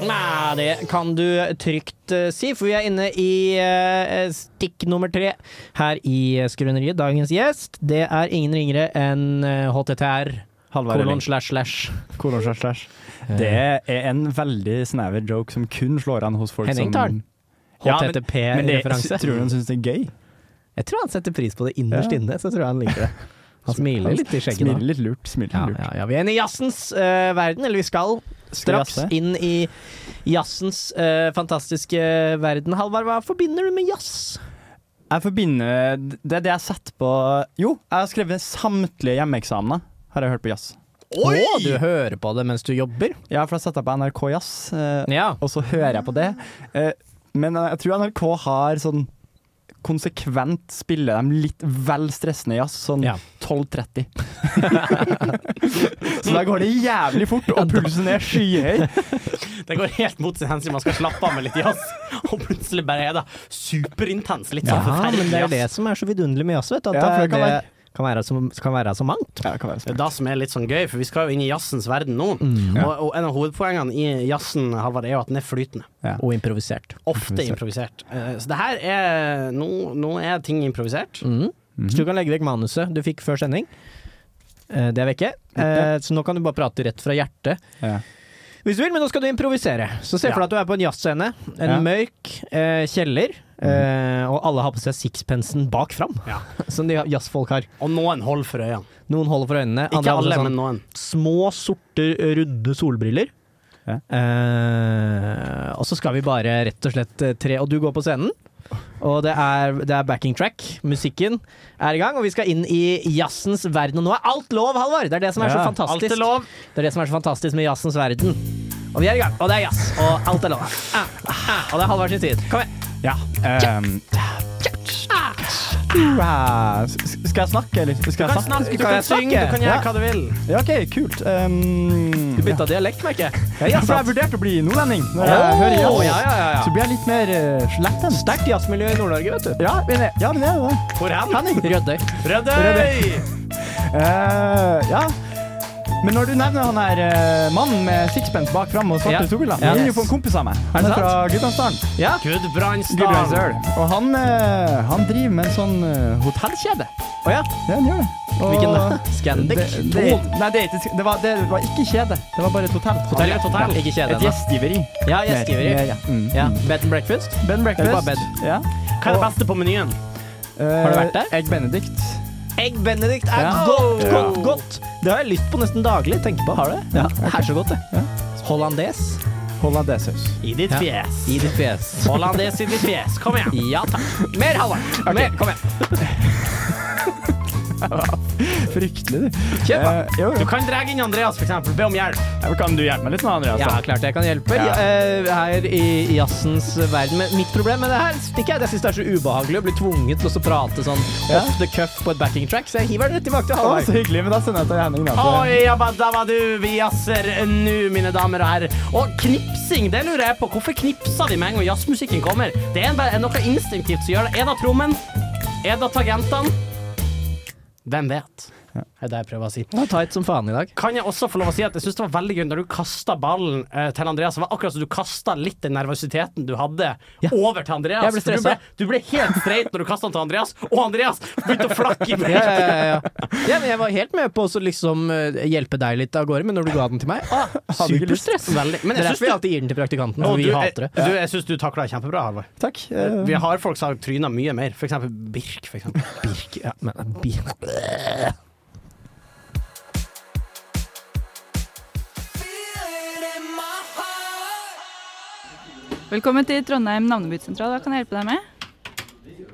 S3: Nei, det kan du trygt eh, si, for vi er inne i eh, stikk nummer tre her i eh, Skrøneriet. Dagens gjest, det er ingen ringere enn eh, HTTR.
S2: Halvard
S3: Kolon
S2: Elling.
S3: slash slash.
S2: Kolon slash slash. Det er en veldig snever joke som kun slår an hos folk
S3: Henning tar den.
S2: som Ja, men- Men det,
S3: HTTP-referanse.
S2: tror du han syns det er gøy?
S3: Jeg tror han setter pris på det innerst
S2: Ja.
S3: inne, så tror jeg han liker det. Han
S2: Han
S3: smiler litt i skjegget
S2: Smiler
S3: nå.
S2: litt lurt. Smiler
S3: Ja,
S2: litt lurt.
S3: ja, ja. Vi er inne i jazzens eh, verden, eller vi skal
S2: Skal vi
S3: straks
S2: jazze?
S3: inn i jazzens eh, fantastiske verden. Halvard, hva forbinder du med jazz?
S2: Jeg forbinder Det er det jeg setter på Jo, jeg har skrevet samtlige hjemmeeksamener. Har jeg hørt på jazz.
S3: Oi! Å, du hører på det mens du jobber?
S2: Ja, for jeg setter på NRK Jazz, eh,
S3: Ja.
S2: og så hører jeg på det. Eh, Men jeg tror NRK har sånn Konsekvent spiller de litt vel stressende jazz, sånn
S3: Ja.
S2: 12.30. så da går det jævlig fort, og pulsen er skyhøy.
S4: Det går helt mot sin hensikt. Man skal slappe av med litt jazz, og plutselig bare er det superintens. Litt
S3: Ja,
S4: sånn
S3: men det
S4: forferdelig
S3: er det
S4: jazz.
S3: som er så vidunderlig med jazz, vet du. At
S2: Ja, for
S3: det,
S2: det kan
S3: er det, kan være så, kan være så mangt.
S2: Ja, det kan være
S4: Det er
S2: smart.
S4: det som er litt sånn gøy, for vi skal jo inn i jazzens verden nå.
S3: Mm.
S2: Mm.
S4: Og, og en av hovedpoengene i jazzen Halvard, er jo at den er flytende.
S3: Og improvisert.
S4: Ofte improvisert. Eh, så det her er Nå, nå er ting improvisert.
S3: Mm. Så du kan legge vekk manuset du fikk før sending. Eh, Det er vekke. Eh, Så nå kan du bare prate rett fra hjertet.
S2: Ja.
S3: Hvis du vil, men nå skal du improvisere. Så se for deg at du er på en jazzscene. En
S2: Ja.
S3: mørk eh, kjeller. Eh, og alle har på seg sixpensen bak fram,
S4: Mhm. Ja.
S3: som de jazzfolk har.
S4: Og noen holder for øynene.
S3: Noen holder for øynene.
S4: Ikke
S3: har på seg
S4: alle,
S3: sånn
S4: men noen.
S3: små, sorte, runde solbriller.
S2: Ja.
S3: Eh, og så skal vi bare rett og slett eh, tre Og du går på scenen. Og det er, det er backing track. Musikken er i gang, og vi skal inn i jazzens verden. Og nå er alt lov, Halvor! Det er det som er så
S2: Ja,
S3: fantastisk.
S4: alt er lov.
S3: Det er det som er så fantastisk med jazzens verden. Og vi er i gang, og det er jazz, og alt er lov. Ah, ah, og det er Halvor sin tid. Kom igjen.
S2: Ja. ehm, ja. S- s- Skal jeg snakke, eller? Skal jeg snakke?
S4: Du kan
S2: jeg
S4: synge, du kan gjøre
S2: Ja.
S4: hva du vil.
S2: Ja, OK, kult. Ehm,
S3: Du bytta dialekt, merker jeg.
S2: ja, ja, for jeg vurderte å bli nordlending når jeg
S3: Åh,
S2: hører jazz.
S3: ja, ja, ja, ja.
S2: Så blir jeg litt mer eh, sletten.
S3: Sterkt jazzmiljø i Nord-Norge, vet du.
S2: Ja, men, jeg- ja, men jeg er jo det.
S4: Hvor hen?
S3: Rødøy.
S4: Rødøy!
S2: Eh, ja. Men når du nevner han her eh, mannen med sixpence bak fram og svarte
S3: Ja.
S2: solbriller
S3: Ja.
S2: Han ligner jo på en kompis av meg. Han
S3: det
S2: er fra Gudbrandsdalen.
S3: Ja.
S4: Gudbrandsdalen.
S2: Gudbrandsdøl. Og han, eh, han driver med en sånn eh, hotellkjede.
S3: Å ja.
S2: Ja, han gjør det. Og
S3: Hvilken da? Scandic? Oh.
S2: Det, det, nei, det, er ikke- det, var, det var ikke kjede. Det var bare et hotell.
S3: Hotell, hotell. Ikke kjede
S2: Et
S3: ennå.
S2: gjestgiveri.
S3: Ja, gjestgiveri.
S2: Mer, mer, ja. Mm.
S3: Ja. Bed and breakfast?
S2: Bed and breakfast.
S3: Eller bare bed.
S2: Ja.
S4: Hva er det beste på menyen?
S2: Har
S3: du vært der?
S2: Egg Benedict.
S3: Egg benedict er
S2: Ja.
S3: godt,
S2: Ja.
S3: godt, godt! Det har jeg lyst på nesten daglig. Tenk på, har du det? Ja. Det er så godt, det.
S2: Ja.
S3: Hollandes
S2: Hollandesaus.
S4: I ditt fjes.
S3: i ditt fjes.
S4: Hollandes i ditt fjes. Kom igjen.
S3: Ja takk. Mer, Halvard. Mer, kom igjen.
S2: Fryktelig, du.
S3: Kjør på.
S2: Eh, jo,
S4: Du
S2: jo.
S4: kan dra inn Andreas, for eksempel. Be om hjelp.
S2: Kan du hjelpe meg litt nå, Andreas?
S3: Altså. Ja, klart jeg kan hjelpe.
S2: Ja.
S3: Eh, her i jazzens verden. Men mitt problem med det her stikker jeg. Jeg syns det er så ubehagelig å bli tvunget til å prate sånn
S2: Ja.
S3: off the cuff på et backing track, så jeg hiver den rett tilbake til
S2: Å,
S3: Halvard.
S2: så hyggelig. Men da sender jeg til Henning, da. så-
S4: Oi, ja, ba, da var du. Vi jazzer nå, mine damer og herrer. Og knipsing, det lurer jeg på. Hvorfor knipser vi med en gang jazzmusikken kommer? Det er bare noe instinktivt som gjør det. Er det trommen? Er det tangentene? Hvem vet? Det er det jeg prøver å si.
S3: Det var tight som faen i dag.
S4: Kan jeg også få lov å si at jeg syns det var veldig gøy når du kasta ballen eh, til Andreas. Det var akkurat som du kasta litt den nervøsiteten du hadde,
S3: Ja.
S4: over til Andreas.
S3: Jeg ble
S4: For
S3: stressa.
S4: Du, ble- du ble helt streit når du kasta den til Andreas, og Andreas begynte å flakke i
S3: ja,
S4: meg.
S3: ja, ja, ja. ja, men jeg var helt med på å så liksom eh, hjelpe deg litt av gårde, men når du ga den til meg ah,
S2: Hadde ikke lyst.
S3: Superstress!
S4: Veldig. Men
S3: Det er
S4: jeg
S3: derfor vi
S4: syns du
S3: alltid gir den til praktikanten,
S4: Å,
S3: for vi
S4: du,
S3: hater det.
S4: Jeg, du, jeg syns du takla det kjempebra, Halvor.
S2: Takk. eh,
S4: Vi har folk som har tryna mye mer, for eksempel Birk. For eksempel.
S3: Birk, ja, men, eh, birk.
S7: Velkommen til Trondheim navnebytesentral. Hva kan jeg hjelpe deg med?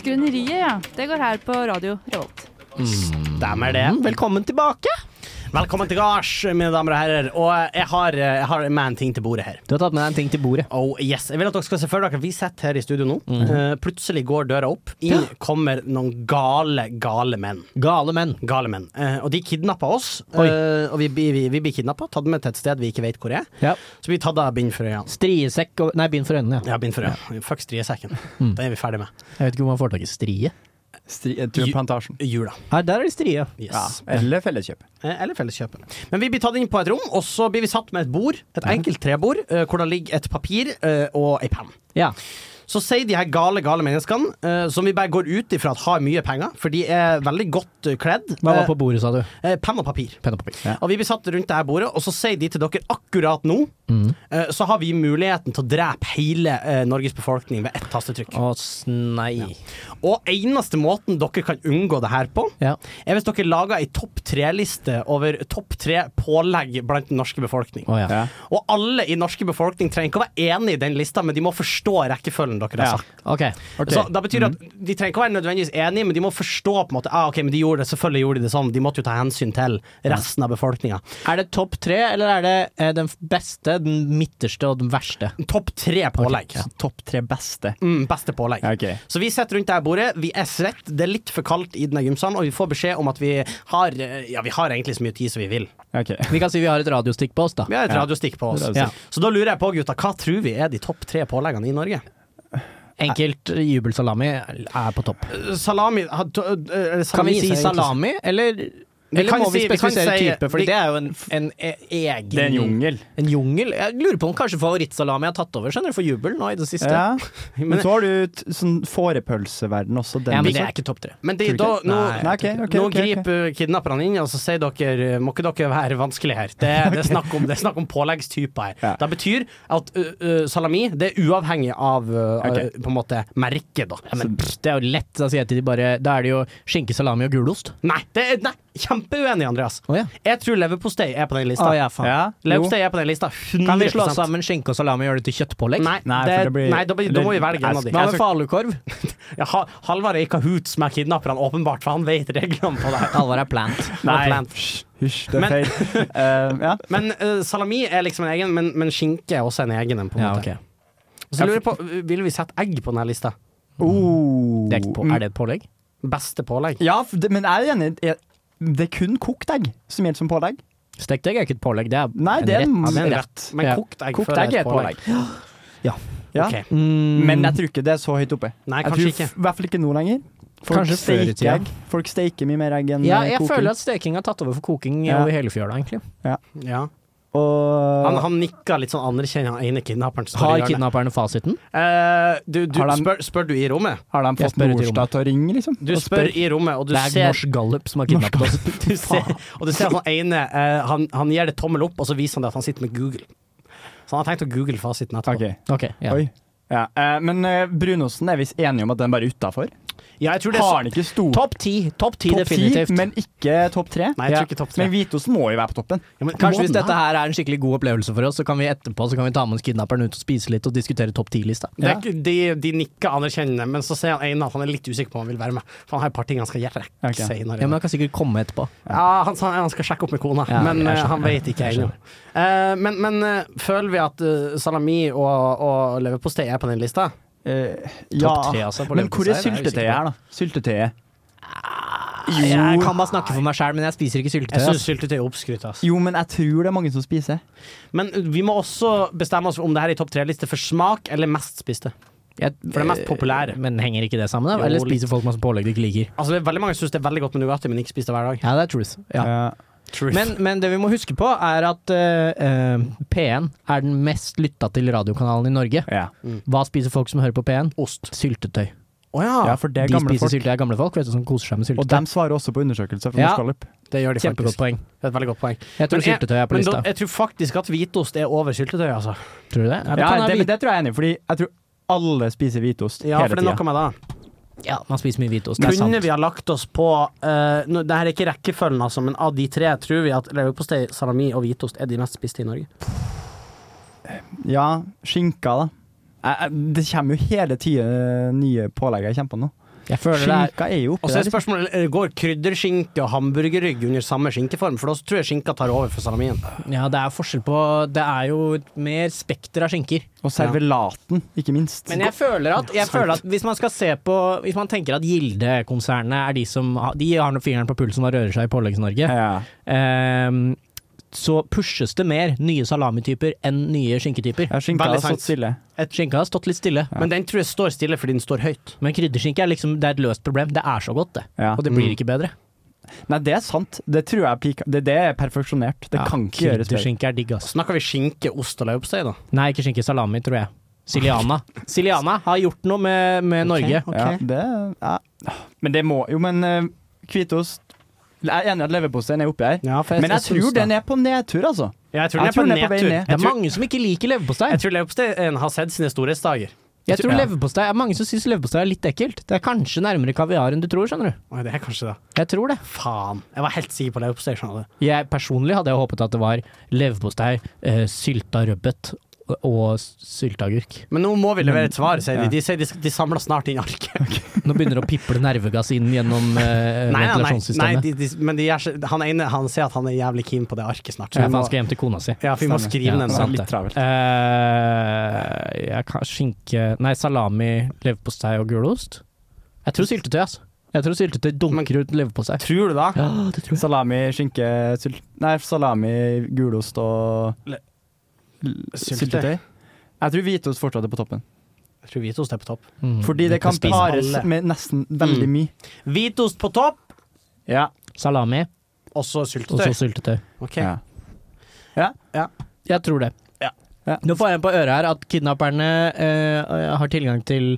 S7: Skrøneriet, ja. Det går her på radio Revolt.
S4: Stemmer det.
S3: Velkommen tilbake!
S4: Velkommen til gards, mine damer og herrer. Og jeg har, eh, jeg har med en ting til bordet her.
S3: Du har tatt med deg en ting til bordet.
S4: Oh yes, jeg vil at dere skal se for dere Vi sitter her i studio nå Eh, Plutselig går døra opp Inn kommer noen gale, gale menn
S3: Gale menn.
S4: Gale menn Eh, Og de kidnapper oss
S3: Oi.
S4: Eh, Og vi, blir- vi, vi blir kidnappet Tatt med til et sted vi ikke vet hvor er
S3: Ja.
S4: Så vi tatt av bind for øynene
S3: Striesekk og Nei, bind for øynene, ja.
S4: Ja, bind for øynene Fuck striesekken Det er vi ferdig med
S3: Jeg vet ikke hvor man får tak i strie.
S2: Stri, eh, tur plantasjen.
S4: Jula
S3: Her, der er det strie.
S4: Yes
S2: Ja. Eller Felleskjøp.
S4: Eh, Eller felleskjøpet. Men vi blir tatt inn på et rom, og så blir vi satt med et bord, et enkelt trebord, eh, hvor det ligger et papir eh, og ei penn.
S3: Ja.
S4: Så sier de her gale, gale menneskene, eh, som vi bare går ut ifra at har mye penger, for de er veldig godt eh, kledd.
S3: Hva var på bordet, sa du?
S4: Eh, eh, Penn og papir.
S3: Penn og papir.
S4: Og vi blir satt rundt det her bordet, og så sier de til dere akkurat nå
S3: Mm.
S4: eh, så har vi muligheten til å drepe hele eh, Norges befolkning ved ett tastetrykk.
S3: Å, s- nei.
S4: Og eneste måten dere kan unngå det her på,
S3: Ja.
S4: er hvis dere lager ei topp tre-liste over topp tre pålegg blant den norske befolkning.
S3: Å, ja.
S2: Ja.
S4: Og alle i norske befolkning trenger ikke å være enig i den lista, men de må forstå rekkefølgen dere
S2: Ja.
S4: har sagt.
S3: OK. Mm.
S4: Så da betyr det at De trenger ikke å være nødvendigvis enige, men de må forstå på en måte ah, ok, men de gjorde det, selvfølgelig gjorde de det sånn. De måtte jo ta hensyn til
S3: Mm.
S4: resten av befolkninga.
S3: Er det topp tre, eller er det eh, den f- beste, den midterste og den verste?
S4: Topp tre pålegg.
S2: Topp tre beste.
S4: Mm, beste pålegg.
S2: Ja, ok.
S4: Så vi sitter rundt det her bordet, vi er svett, det er litt for kaldt i denne gymsalen, og vi får beskjed om at vi har eh, Ja, vi har egentlig så mye tid som vi vil.
S2: Ok.
S3: Vi kan si vi har et radiostikk på oss, da.
S4: Vi har et radiostikk på oss.
S2: Radiostikk.
S4: Ja. Så da lurer jeg på, gutta, hva tror vi er de topp tre påleggene i Norge?
S3: Enkelt eh, jubelsalami er på topp.
S4: Salami ha- to- eller
S3: Kan vi
S4: salami, sier
S3: si
S4: jeg
S3: salami, eller, eller
S4: kan
S3: må vi
S4: si- vi kan
S3: spesifisere
S4: si-
S3: type? For
S4: vi-
S3: det er jo en, en e- egen
S2: Det er en jungel.
S3: En jungel. Jeg lurer på om kanskje favorittsalami har tatt over skjønner du, for jubel nå i det siste.
S2: Ja.
S4: egentlig.
S2: Men
S4: Men,
S2: så har du t- sånn fårepølseverden også. Den
S3: Ja, men
S2: også.
S3: det er ikke topp tre.
S4: men det,
S2: Tror du
S4: da,
S2: ikke?
S4: nå,
S2: Nei, ok, ok,
S4: nå
S2: ok, ok.
S4: griper kidnapperne inn, og så
S3: eh,
S4: sier dere Må ikke dere være vanskelige her. Det, det, er snakk om, det er snakk om påleggstyper her.
S2: Ja.
S4: Det betyr at ø, ø, salami Det er uavhengig av ø,
S2: Ok.
S4: ø, på en måte merket, da.
S3: Ja, men pff, det er jo lett. Da sier jeg til de bare Da er det jo skinke, salami og gulost.
S4: Nei, det er, nei, kjempeuenig, Andreas.
S3: Å ja.
S4: Jeg tror leverpostei er på den lista.
S3: Å ja, faen.
S2: Ja, jo.
S4: Leverpostei er på den lista. 100
S3: Kan vi slå sammen skinke og salami og gjøre det til kjøttpålegg?
S4: Nei,
S2: Nei,
S4: det,
S2: for det blir-
S4: nei da, blir- da må vi velge en av de.
S3: Hva med falukorv?
S4: Ja, Ha- Halvard er i kahoots med kidnapperne, åpenbart, for han vet reglene på det. her.
S3: Alvor er plant.
S2: Nei,
S4: Plant.
S2: hysj, hysj, det
S4: Men-
S2: er feil. Eh, ja.
S4: Men eh, salami er liksom en egen, men, men skinke er også en egen en, på en
S3: Ja,
S4: måte.
S3: ok.
S4: Så jeg lurer på, Ville vi sette egg på denne lista?
S2: Oh. Mm.
S3: Det er, ikke på, er det et pålegg?
S4: Beste pålegg?
S2: Ja, f- det, men jeg er enig. Jeg- Det er kun kokt egg som gjelder som pålegg.
S3: Stekt egg er ikke et pålegg, det er
S2: Nei, det er en
S4: Ja, det er en
S2: rett.
S4: rett. Men
S3: Ja.
S4: kokt egg
S3: Kokt
S4: føler jeg
S3: egg er et pålegg.
S2: Ja.
S4: Ok.
S3: Mm,
S2: Men jeg tror ikke det er så høyt oppe.
S4: Nei,
S2: jeg
S4: kanskje
S2: tror
S4: ikke.
S2: f- I hvert fall ikke nå lenger. Folk
S3: Kanskje før i
S2: steker
S3: tida.
S2: egg. Folk steker mye mer egg enn
S3: ja,
S2: eh,
S3: jeg
S2: koking.
S3: føler at steking har tatt over for koking
S2: Ja.
S3: over hele fjøla, egentlig.
S4: Ja.
S2: Og
S4: Han, han nikka litt sånn anerkjennende, han ene kidnapperen. som står i
S3: Har
S4: hjørnet.
S3: kidnapperne fasiten?
S4: Eh, du, du,
S2: Har de-
S4: spør, spør du i rommet?
S2: har de
S3: Jeg
S2: fått
S3: spør ut i
S2: Norstat til å ringe, liksom?
S4: Du
S2: Og
S4: spør i rommet, og du
S3: det er
S4: ser
S3: Norsk Gallup som har kidnappet oss.
S4: du ser, og du ser at han ene eh, han, han gir det tommel opp, og så viser han det at han sitter med Google. Så han har tenkt å google fasiten etterpå.
S2: Ok,
S3: Ok, ja.
S2: Oi. Ja, eh, men eh, brunosten er visst enige om at den bare er utafor.
S4: Ja, jeg tror det er
S2: Har
S4: så,
S2: den ikke stor
S3: Topp ti! Topp ti,
S2: topp ti,
S3: definitivt.
S2: men ikke topp tre?
S4: Nei, jeg
S3: Ja.
S4: tror ikke topp tre.
S2: Men hvitosten må jo være på toppen.
S4: Ja, men
S3: Kanskje
S4: må
S3: hvis
S4: den
S3: dette her er en skikkelig god opplevelse for oss, så kan vi etterpå så kan vi ta med oss kidnapperen ut og spise litt og diskutere topp ti-lista.
S4: Det er ikke- de, de nikker anerkjennende, men så sier han ene at han er litt usikker på om han vil være med. For han har et par ting han skal gjøre
S2: Ok.
S4: senere.
S3: Ja, men jeg kan sikkert komme etterpå.
S4: Ja, han sa han skal sjekke opp med kona,
S3: Ja,
S4: men
S3: jeg
S4: eh,
S3: skjønner,
S4: han vet ikke
S3: jeg
S4: ennå. Eh, men men eh, føler vi at eh, salami og, og leverpostei er på den lista?
S2: Eh,
S3: Topp tre, altså. på
S2: Men hvor er
S3: leverpostei, det
S2: syltetøyet her, da?
S3: jeg
S2: Syltetøyet.
S3: usikker på. Jeg kan bare snakke for meg sjæl, men jeg spiser ikke
S4: Jeg
S3: syltetøy.
S4: syns
S3: ass.
S4: syltetøy er oppskrytt. ass.
S2: Jo, men jeg tror det er mange som spiser.
S4: Men eh, vi må også bestemme oss for om det her er i topp tre-liste for smak eller mest spiste.
S3: Jeg-
S4: For det er mest populære.
S3: Men henger ikke det sammen, da?
S4: Jo,
S3: Eller
S4: litt.
S3: spiser folk masse pålegg de ikke liker?
S4: Altså, det er veldig mange som syns det er veldig godt med Nugatti, men ikke spiser det hver dag.
S3: Ja, det er truth. Ja.
S2: Ja.
S3: Men, men det vi må huske på, er at eh, eh, P1 er den mest lytta til radiokanalen i Norge.
S2: Ja.
S3: Hva spiser folk som hører på P1? Ost. Syltetøy.
S4: Å ja.
S2: ja, for det er
S3: de
S2: gamle
S3: spiser
S2: folk.
S3: syltetøy er gamle folk, vet du, som koser seg med
S2: Og
S3: syltetøy.
S2: de svarer også på undersøkelser fra
S3: Ja.
S2: Norsk Gallup.
S4: Det gjør de
S3: Kjempegodt
S4: faktisk.
S3: poeng.
S4: Det er et veldig godt poeng.
S3: Jeg tror
S4: Men jeg-
S3: syltetøy er på
S4: Men
S3: lista.
S4: da, jeg tror faktisk at hvitost er over syltetøy, altså.
S3: tror du det? Ja, det kan
S2: Ja, det,
S3: være
S2: men
S3: hvit-
S2: det tror jeg er enig i, fordi jeg tror alle spiser hvitost
S4: Ja,
S2: hele
S4: for det er
S2: tida.
S4: noe med det.
S3: ja, man spiser mye hvitost. Det er sant.
S4: Kunne vi ha lagt oss på eh, nå, Det her er ikke rekkefølgen, altså, men av de tre tror vi at leverpostei, salami og hvitost er de mest spiste i Norge.
S2: Ja, skinka, da. Jeg, jeg, det kommer jo hele tida nye pålegg jeg kommer på nå.
S3: Jeg føler det er
S2: Skinka er jo
S4: Og
S2: oppi
S4: så er
S2: der. liksom.
S4: spørsmålet eh, går krydderskinke og hamburgerrygg under samme skinkeform, for da tror jeg skinka tar over for salamien.
S3: Ja, det er forskjell på Det er jo et mer spekter av skinker.
S2: Og servelaten, ikke minst.
S3: Men jeg føler at, jeg føler at hvis man skal se på Hvis man tenker at Gilde-konsernet er de som har- De har nå fingeren på pulsen og rører seg i Påleggs-Norge,
S2: ja.
S3: ehm, så pushes det mer nye salamityper enn nye skinketyper.
S2: ja, skinka
S4: Veldig
S2: har
S4: sant.
S2: stått stille.
S3: Skinka har stått litt stille,
S4: Men den tror jeg står stille fordi den står høyt.
S3: men krydderskinke er liksom Det er et løst problem. Det er så godt, det.
S2: Ja. Mm.
S3: Og det blir ikke bedre.
S2: Nei, det er sant. Det tror jeg pika. Det, det er perfeksjonert. Det
S3: Ja,
S2: kan ikke gjøres bedre.
S3: Krydderskinke er digg, ass.
S4: Snakker vi skinke, ost og leverpostei, da?
S3: Nei, ikke skinke salami, tror jeg. Siliana. Siliana har gjort noe med, med Norge.
S4: Ok.
S2: Ja, det ja. Men det må Jo, men eh, hvitost Jeg er enig i at leverposteien er oppi her.
S4: Ja, for
S2: Men jeg
S4: syns
S2: tror
S4: det.
S2: den er på nedtur, altså.
S4: Ja, jeg tror den er på
S2: vei
S4: nedtur.
S2: ned.
S3: Det
S4: Jeg
S3: er
S4: tror,
S3: mange som ikke liker leverpostei.
S4: jeg tror leverposteien har sett sine storhetsdager.
S3: Jeg tror
S2: Ja.
S3: leverpostei er mange som syns leverpostei er litt ekkelt. Det er kanskje nærmere kaviar enn du tror, skjønner du.
S4: Oi, det er kanskje det.
S3: Jeg tror det.
S4: Faen. Jeg var helt sikker på leverpostei, skjønner du.
S3: Jeg personlig hadde jeg håpet at det var leverpostei, eh, sylta rødbet og s- sylteagurk.
S4: Men nå må vi levere et svar, sier
S2: Ja.
S4: de. De sier de, de samler snart inn arket.
S3: Nå begynner det å piple nervegass inn gjennom eh,
S4: Nei, nei, nei, nei
S3: ventilasjonssystemet.
S4: de, de, men de er, så- han ene han sier at han er jævlig keen på det arket snart. Så
S3: Ja, for
S4: vi må,
S3: han skal hjem til kona si.
S4: ja, vi må
S2: Stemmer.
S4: skrive
S3: Ja,
S4: den
S2: det er
S4: sånn.
S3: sant
S2: litt
S3: det.
S2: travelt.
S3: Eh, jeg kan skinke Nei, salami, leverpostei og gulost. Jeg tror syltetøy, altså. Jeg tror syltetøy dunker ut leverpostei.
S4: Tror du da?
S3: Ja, det tror jeg.
S2: Salami, skinke, sylt... Nei, salami, gulost og
S4: Le-
S2: l- syltetøy. Jeg tror hvitost fortsatt er på toppen.
S4: Jeg tror hvitost er på topp.
S3: Mm,
S2: Fordi Mm, det kan
S3: Spis
S2: pares
S4: alle.
S2: med nesten veldig
S4: Mm.
S2: mye.
S4: Hvitost på topp,
S2: Ja.
S3: Salami
S4: og så
S3: og så
S4: syltetøy.
S3: syltetøy.
S4: Ok.
S2: Ja.
S3: Jeg tror det.
S4: Ja.
S2: Ja.
S3: Nå får jeg en på øret her at kidnapperne eh, har tilgang til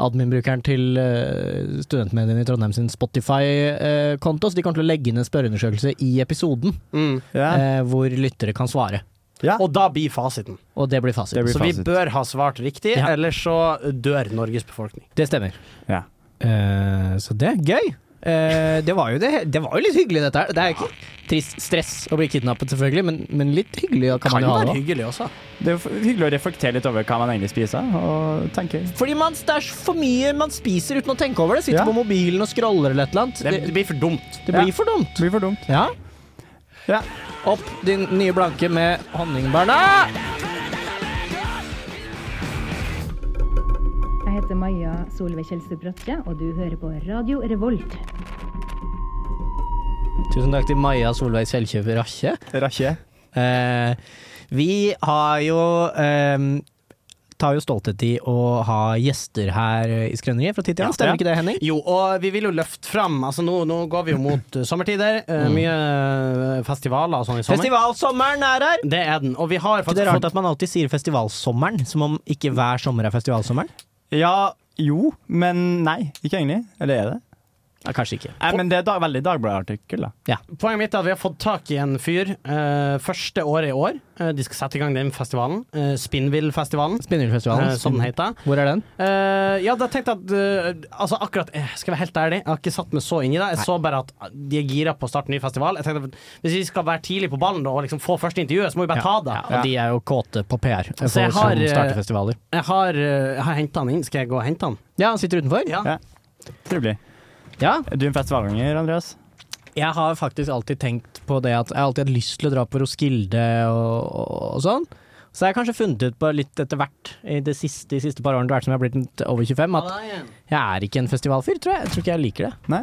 S3: admin-brukeren til eh, studentmediene i Trondheim sin Spotify-konto, så de kommer til å legge inn en spørreundersøkelse i episoden
S4: Mm.
S2: Ja.
S3: eh, hvor lyttere kan svare.
S2: ja.
S4: Og da blir fasiten.
S3: Og det blir fasit.
S2: Det blir
S4: Så vi
S2: fasit.
S4: bør ha svart riktig,
S3: Ja.
S4: ellers så dør Norges befolkning.
S3: Det stemmer.
S2: Ja.
S3: Eh, så det er gøy. Eh, det, var jo det, det var jo litt hyggelig, dette her. Det er jo ikke trist stress å bli kidnappet, selvfølgelig, men, men litt hyggelig kan,
S4: Kan
S3: man jo ha
S4: være
S3: det. også.
S4: hyggelig også.
S2: Det er jo hyggelig å reflektere litt over hva man egentlig spiser, og tenke
S3: Fordi man, det er så for mye man spiser uten å tenke over det. Sitter
S2: Ja.
S3: på mobilen og scroller eller et eller annet.
S4: Det, det blir for dumt.
S3: Det
S2: Ja.
S3: blir for dumt.
S2: Det blir for dumt.
S3: Ja.
S2: Ja.
S3: Opp din nye blanke med honningbærene.
S8: Jeg heter Maja Solveig Kjelsrud Bratte, og du hører på Radio Revolt.
S3: Tusen takk til Maja Solveig Selvkjøp Rasje.
S2: Rakkje.
S3: Eh, vi har jo eh, Tar jo stolthet i å ha gjester her i Skrøneriet fra tid til annen.
S4: Ja.
S3: Stemmer ikke det, Henning?
S4: Jo, og vi vil jo løfte fram altså Nå, nå går vi jo mot eh, sommertider. eh, Mye eh, festivaler og sånn i sommer.
S3: Festivalsommeren er her!
S4: Det er den. Og vi har
S3: Ikke det
S4: faktisk
S3: er rart
S4: fått
S3: at man alltid sier festivalsommeren, som om ikke hver sommer er festivalsommeren?
S2: Ja, jo, men nei. Ikke egentlig. Eller er det?
S3: Ja, kanskje ikke.
S2: Nei, men det er da, veldig Dagbladet-artikkel, da.
S4: Poenget mitt er at vi har fått tak i en fyr eh, første året i år. Eh, de skal sette i gang den festivalen. Uh, Spinnvillfestivalen,
S3: Spinnvillfestivalen.
S4: eh, som den heter.
S3: sånn Hvor er den?
S4: Eh, ja, da tenkte jeg at eh, Altså akkurat eh, Skal jeg være helt ærlig, jeg har ikke satt meg så inn i det. Jeg så bare at de er gira på å starte en ny festival. Jeg tenkte at Hvis vi skal være tidlig på ballen da, og liksom få første intervjuet, så må vi bare ta det.
S3: Ja, og de er jo kåte på PR. For,
S4: jeg har,
S3: som
S4: eh,
S3: starter festivaler.
S4: Jeg har, eh, jeg har henta han inn. Skal jeg gå og hente han?
S3: Ja, han sitter utenfor.
S4: Ja.
S2: Trivelig.
S3: ja.
S2: Er du en festivalganger, Andreas?
S3: Jeg har faktisk alltid tenkt på det at jeg har alltid hatt lyst til å dra på Roskilde og, og, og sånn. Så jeg har kanskje funnet ut på litt etter hvert i de siste, de siste par årene etter hvert som jeg har blitt en- over 25, at jeg er ikke en festivalfyr, tror jeg. Jeg tror ikke jeg liker det.
S2: Nei.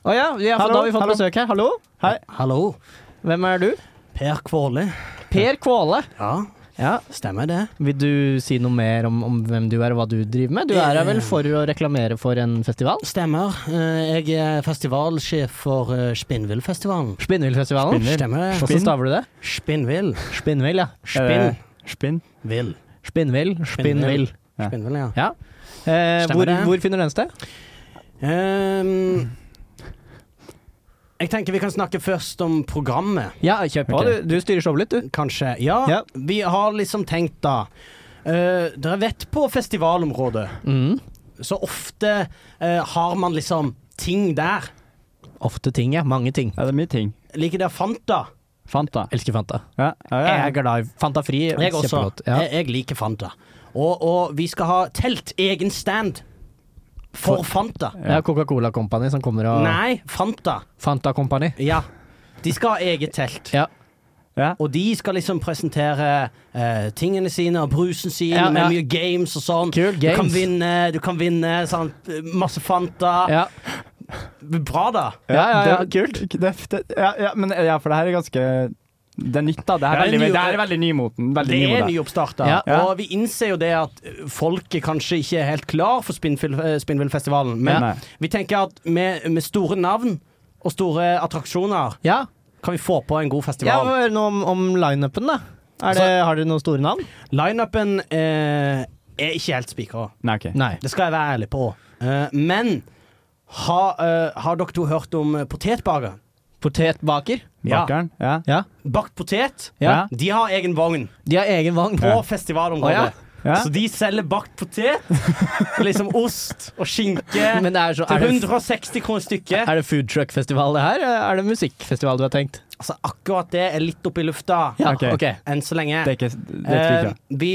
S3: Å ja, vi har,
S2: Hallo,
S3: da har vi fått
S2: hallo.
S3: besøk her. Hallo?
S4: Hallo.
S3: Hvem er du?
S4: Per Kvåle.
S3: Per Kvåle.
S4: Ja,
S3: Ja,
S4: stemmer det.
S3: Vil du si noe mer om, om hvem du er og hva du driver med? Du er her vel for å reklamere for en festival?
S4: Stemmer. Eh, Jeg er festivalsjef for eh, Spinnvillfestivalen.
S3: Spinnvillfestivalen?
S4: Stemmer det.
S3: Hvordan staver du det?
S4: Spinnvill.
S3: Spinnvill, ja. Eh,
S2: Er
S4: Spinnvill.
S2: det Spinn.
S3: Spinnvill, Eh, spinnvill.
S2: Ja.
S4: Spinnvill, ja.
S3: Ja. Eh,
S4: Stemmer
S3: hvor,
S4: det.
S3: hvor finner den sted?
S4: Ehm, jeg tenker vi kan snakke først om programmet,
S3: Ja, kjøp
S2: Å,
S3: du, styrer showet litt, du.
S4: kanskje. Ja,
S3: Ja.
S4: vi har liksom tenkt da eh, Dere vet på festivalområdet,
S3: Mm.
S4: så ofte eh, har man liksom ting der.
S3: Ofte ting, ja. Mange ting.
S2: Ja, det er mye ting.
S4: Like der Fanta.
S2: Fanta.
S3: Elsker Fanta.
S2: Ja, ja, ja.
S3: Jeg er glad i Fanta Fri.
S4: Jeg også.
S3: kjempelåt. Ja.
S4: Jeg, jeg liker Fanta. Og, og vi skal ha telt egen stand for Fanta.
S3: Det er Coca-Cola Company som kommer og
S4: Nei, Fanta.
S3: Fanta Company.
S4: Ja. De skal ha eget telt.
S3: Ja.
S2: Ja.
S4: Og de skal liksom presentere eh, tingene sine og brusen sin
S3: Ja,
S4: med
S3: ja.
S4: mye games og sånn.
S3: Kul,
S4: Du kan
S3: games.
S4: vinne, du kan vinne sånn, masse Fanta.
S3: Ja.
S4: Bra, da.
S3: Ja, ja, ja,
S2: det- Det, det, ja, ja, men ja, for det her er ganske Det er nytt, da. Det, her
S4: Ja,
S2: er
S4: det er
S2: veldig,
S4: ny-
S2: det her er veldig nymoten. Veldig
S4: Det er
S2: nymoda.
S4: nyoppstarta.
S3: Ja.
S2: Ja.
S4: Og vi innser jo det at eh, folket kanskje ikke er helt klar for Spinnfil- eh, Spinnvillfestivalen. Men
S2: Nei.
S4: vi tenker at med, med store navn og store attraksjoner
S3: ja.
S4: kan vi få på en god
S3: ja
S4: festival.
S3: Hør nå om, om lineupen, da. Er det, har dere noen store navn?
S4: Lineupen eh, er ikke helt spikra.
S2: Nei, ok.
S3: Nei.
S4: Det skal jeg være ærlig på. Eh, men har, eh, har dere to hørt om eh, potetbaker?
S3: Potetbaker.
S4: Ja.
S2: Bakeren. Ja.
S3: Ja.
S4: Bakt potet?
S2: Ja.
S4: De har egen vogn
S3: De har egen vogn.
S4: på
S3: Ja.
S4: festivalområdet.
S3: Å,
S2: Ja.
S4: Så de selger bakt potet, liksom ost og skinke,
S3: Men det er, så,
S4: til
S3: er, det,
S4: 160 kroner stykket.
S3: er det food truck-festival, det her? Er det musikkfestival du har tenkt?
S4: Altså, akkurat det er litt oppe i lufta
S3: Ja,
S2: Ok.
S3: ok.
S4: enn så lenge.
S2: Det er ikke det er
S4: Eh,
S2: ikke bra.
S4: vi,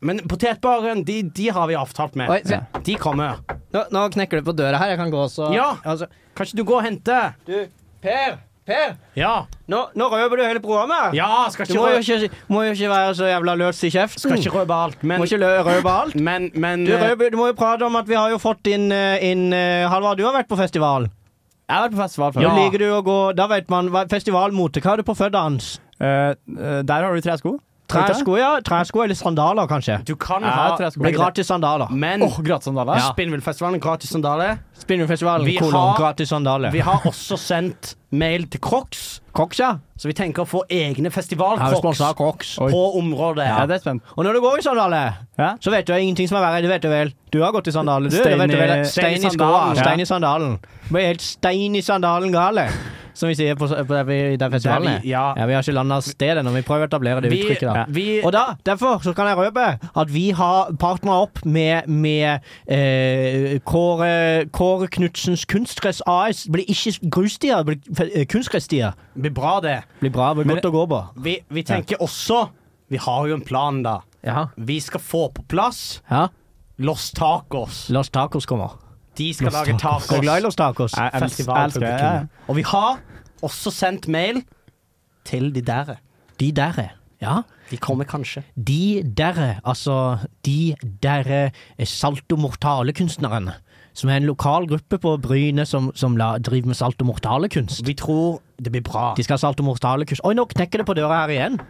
S4: men potetbaren, de, de har vi avtalt med.
S3: Oi, skal-
S4: De kommer.
S3: Nå, nå knekker det på døra her. Jeg kan gå så
S4: Ja,
S3: altså,
S4: kanskje du går og henter?
S3: Per! Per!
S4: Ja.
S3: Nå, nå røper du hele programmet!
S4: ja skal,
S3: Du
S4: ikke
S3: må jo
S4: rø
S3: ikke, må jo ikke være så jævla løs i kjeften.
S4: skal ikke røpe alt,
S3: Må
S4: men
S3: ikke lø- røpe alt.
S4: Men, men
S3: Du,
S4: eh,
S3: røper, du må jo prate om at vi har jo fått inn, eh, inn eh, Halvard, du har vært på festival.
S2: Jeg har vært på festival før.
S3: Ja.
S4: Ja.
S3: liker du å gå Da vet man hva- festivalmote. Hva er det på føttene hans?
S2: Eh, eh, der har du tresko.
S3: Tresko, ja. Tresko eller sandaler, kanskje.
S4: Du kan
S2: Ja,
S4: ha
S2: tresko.
S3: Blir gratis sandaler.
S4: Men
S2: Åh, gratissandaler?
S4: ja. Spinnvillfestivalen, gratis sandaler.
S3: Spinnerfestivalen,
S4: Vi
S3: kolon,
S4: har-
S3: gratis sandaler.
S4: Vi har også sendt mail til Crocs,
S3: Crocs, ja.
S4: så vi tenker å få egne
S3: Er jo sponsa av
S4: festival-Crocs
S3: Crocs.
S2: Oi.
S4: på området.
S2: Ja, det er spent.
S3: Og når du går i sandaler,
S2: Ja.
S3: så vet du jo ingenting som er verre. Det vet du vel. Du har gått i sandaler, du.
S2: Stein
S3: det vet du vel.
S2: i-
S3: Stein i skoa.
S4: sandalen.
S3: Stein i sandalen. Du blir helt stein i sandalen gale. Som vi sier på, på, der vi- i den festivalen.
S4: Der vi- ja.
S3: vi har ikke landa stedet når vi prøver å etablere det
S4: Vi,
S3: uttrykket. da.
S4: vi,
S3: Og da, derfor så kan jeg røpe at vi har partnera opp med, med eh, Kåre, Kåre Knudsens Kunstgress AS. Det blir ikke grusstier, det blir fe- eh, kunstgressstier.
S4: det blir bra, det.
S3: Det blir bra. Det blir
S2: Men-
S3: godt å gå på.
S4: Vi, vi tenker også Vi har jo en plan, da.
S3: Ja.
S4: Vi skal få på plass
S3: ja.
S4: Los Tacos.
S3: Los Tacos kommer.
S4: De skal
S3: Los
S4: lage
S3: Du er glad i
S4: tacos.
S3: Los Tacos?
S2: Jeg- jeg- jeg elsker det, ja.
S4: Festivalpublikum. Og vi har også sendt mail til de der.
S3: De derre. Ja.
S4: De kommer kanskje.
S3: De derre, altså de derre eh, Salto Mortale-kunstneren. Som er en lokal gruppe på Bryne som, som la, driver med Salto Mortale-kunst.
S4: Vi tror det blir bra.
S3: De skal ha salt og mortalekurs. Oi, nå knekker det på døra her igjen.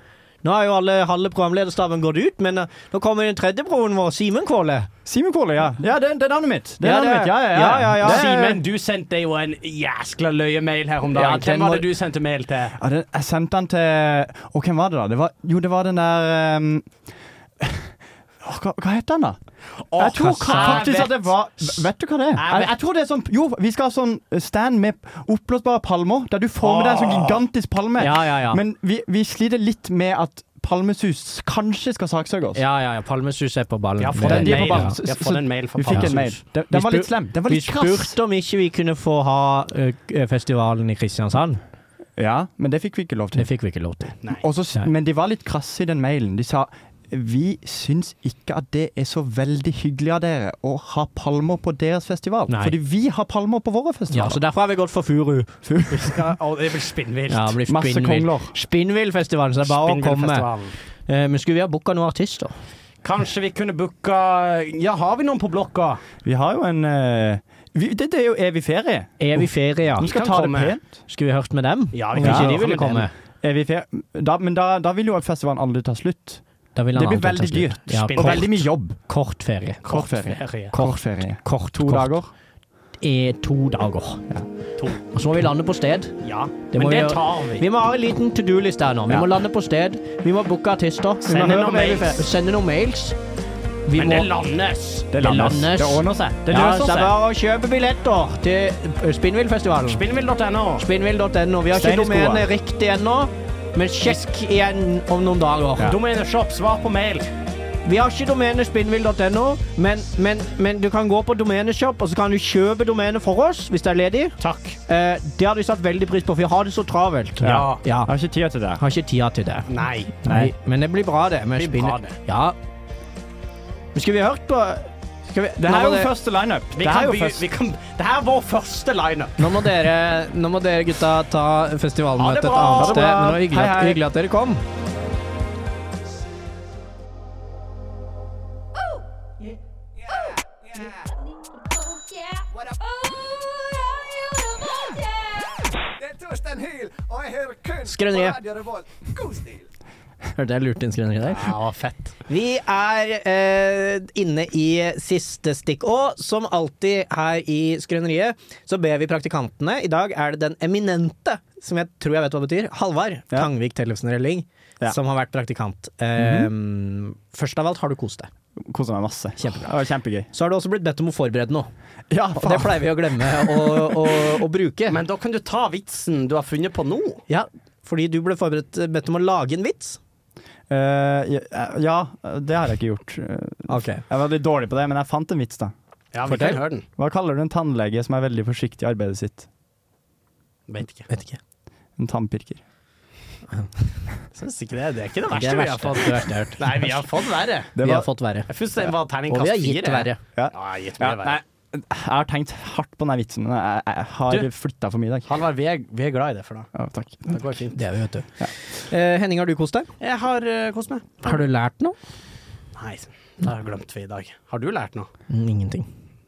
S3: Nå har jo alle halve programlederstaben gått ut, men eh, nå kommer den tredje broren vår, Simen Kvåle.
S2: Simen Kvåle, ja. Ja, det, det er navnet mitt. Det er
S3: Ja, det
S2: navnet
S3: er-
S2: mitt. Ja, ja,
S3: ja, ja, ja.
S2: Det er-
S4: Simen, du sendte jo en jæskla løye mail her om dagen.
S3: Ja, den
S4: Hvem var
S3: må-
S4: det du sendte mail til?
S2: Ja, den, jeg sendte den til Å, hvem var det, da? Det var, jo, det var den der um, Åh, hva, hva het den, da? jeg tror
S4: hva
S2: ka-
S4: sa-
S2: faktisk
S4: jeg
S2: at det var V- Vet du hva det er?
S4: Jeg
S2: Jeg,
S4: vet-
S2: jeg tror det er sånn Jo, vi skal ha sånn stand med oppblåsbare palmer, der du får med deg en sånn gigantisk palme.
S3: Ja, ja, ja.
S2: Men vi, vi sliter litt med at palmesus kanskje skal saksøke oss.
S3: Ja, ja, ja. Palmesus er på ballen.
S4: Ja, få
S3: Det-
S2: den
S4: en
S2: de er på
S4: mail,
S2: ballen.
S4: da. Jeg får
S2: Så-
S4: en mail fra
S2: Vi fikk
S4: Palmesus.
S2: en mail. Den,
S3: Vi
S2: den var
S3: spur-
S2: litt slem. Den var
S3: Vi
S2: litt krass.
S3: spurte om ikke vi kunne få ha eh, k- festivalen i Kristiansand.
S2: Ja, men det fikk vi ikke lov
S3: Det
S2: til.
S3: fikk vi ikke lov til.
S2: Og så-
S3: Nei.
S2: men de var litt krasse i den mailen. De sa vi syns ikke at det er så veldig hyggelig av dere å ha palmer på deres festival.
S3: Nei.
S2: Fordi vi har palmer på
S3: Ja,
S2: våre festivaler.
S3: så derfor har vi gått for Furu.
S4: skal- Å, det er vel spinnvilt.
S3: Ja, det blir
S2: Masse
S3: Spinnvill.
S2: kongler.
S3: Spinnvillfestivalen, så det er bare å komme.
S4: Spinnvillfestivalen.
S3: Eh, Men skulle vi ha booka noen artister?
S4: Kanskje vi kunne booka Ja, har vi noen på blokka?
S2: Vi har jo en eh, vi, det, det er jo evig ferie.
S3: Evig ferie, ja.
S2: Vi skal
S4: kan
S2: ta
S4: komme.
S2: det pent.
S3: Skulle vi hørt med dem?
S4: Ja,
S3: Om
S4: kan
S3: ikke
S4: gjøre
S3: de ville
S4: det.
S3: komme.
S2: Evig ferie. Da, men da, da vil jo festivalen aldri ta slutt.
S3: Da ville
S2: Det
S3: han alltid ta
S2: blir veldig
S3: slutt.
S2: dyrt.
S3: Ja,
S4: Spinn-
S2: Og
S3: kort-
S2: veldig mye jobb.
S3: Kort ferie.
S2: Kort ferie.
S4: Ferie.
S2: Kort ferie.
S3: Kort,
S2: To
S3: kort.
S2: dager.
S3: I to dager.
S4: To.
S3: Og så må vi lande på sted.
S4: Ja.
S3: Det
S4: Men
S3: må vi
S4: det
S3: gjøre.
S4: tar
S3: Vi
S4: vi.
S3: må ha en liten to do-list her nå. Vi
S2: Ja.
S3: må lande på sted. Vi må booke artister. Vi må
S4: Sende
S3: høre
S4: noen
S3: med-
S4: mails.
S3: Sende noen mails. Vi
S4: Men
S3: må
S4: det landes.
S2: Det landes.
S3: landes.
S2: Det ordner seg. Det
S3: ja,
S2: løser
S3: så det er
S2: seg.
S3: bare å kjøpe billetter til eh, Spinnvillfestivalen.
S4: Spinnvill.no.
S3: Spinnvill.no. Vi har ikke
S2: Stein i skoa.
S3: domenet riktig ennå, men sjekk igjen om noen dager.
S2: Ja.
S4: Domeneshop, svar på mail.
S3: Vi har ikke domenet spinnvill.no, men, men, men du kan gå på domeneshop, og så kan du kjøpe domenet for oss hvis det er ledig.
S4: Takk.
S3: Eh, det hadde vi satt veldig pris på, for vi har det så travelt.
S4: Ja.
S3: ja.
S2: Jeg har ikke tid til det.
S3: Har ikke tida til det.
S4: Nei.
S3: Nei. Men det blir bra, det. Med
S4: Det blir bra,
S3: spinne-
S4: det.
S3: Ja. Men skulle vi hørt på skal vi,
S2: Det
S3: nå,
S2: her
S3: må
S2: er jo
S3: dere-
S2: første lineup.
S4: Vi
S2: Det her
S4: kan
S2: er
S4: by,
S2: jo først.
S4: vi kan, det her er vår første lineup.
S3: nå må dere Nå må dere gutta ta
S4: Ha
S3: festivalmøtet
S4: det
S3: et
S4: bra,
S3: annet
S4: ha det
S3: sted.
S4: bra.
S3: Men det var hyggelig,
S4: Hei,
S3: at-
S4: hei.
S3: hyggelig at dere kom. Skrøneriet. Hørte jeg lurte inn skrøneriet der?
S4: Ja, det var fett.
S3: Vi er eh, inne i siste stikk, og som alltid her i Skrøneriet, så ber vi praktikantene I dag er det den eminente, som jeg tror jeg vet hva betyr, Halvard
S2: Ja.
S3: Tangvik Tellefsen Relling,
S2: Ja.
S3: som har vært praktikant. Eh, Først av alt har du kost deg.
S2: Koser meg masse.
S3: Kjempebra.
S2: Det var kjempegøy.
S3: Så har du også blitt bedt om å forberede noe.
S2: Ja,
S3: Og det pleier vi å glemme å, å, å bruke.
S4: Men da kan du ta vitsen du har funnet på nå.
S3: ja, fordi du ble forberedt, bedt om å lage en vits.
S2: Eh, ja, ja, det har jeg ikke gjort. Eh, Jeg var litt dårlig på det, men jeg fant en vits, da.
S4: Ja,
S3: Fortell.
S4: høre den.
S2: Hva kaller du en tannlege som er veldig forsiktig i arbeidet sitt?
S4: Vet ikke.
S3: Vet ikke.
S2: En tannpirker.
S4: Synes ikke det. det er ikke det
S3: Det
S4: verste
S3: er
S4: vi har
S3: verste.
S4: fått.
S3: Det verste jeg har hørt.
S4: Nei, vi har fått verre.
S2: Det
S3: Vi har
S2: var,
S3: fått verre.
S4: Jeg synes det
S3: Og
S4: var
S3: vi
S4: terningkast
S3: har gitt
S4: fire.
S3: verre.
S2: ja.
S4: Ja, jeg har gitt
S2: Ja,
S4: mye verre.
S2: nei, jeg har tenkt hardt på den vitsen, men jeg, jeg
S4: Du.
S2: har flytta for mye i dag.
S4: Halvard, vi, er- vi er glad i det for da.
S2: Ja, takk.
S4: Det går fint.
S3: Det er vi, vet du. Eh, Henning, har du kost deg?
S4: Jeg har uh, kost meg.
S3: Har du lært noe?
S4: Nei, det har jeg glemt vi i dag. Har du lært noe?
S3: Ingenting.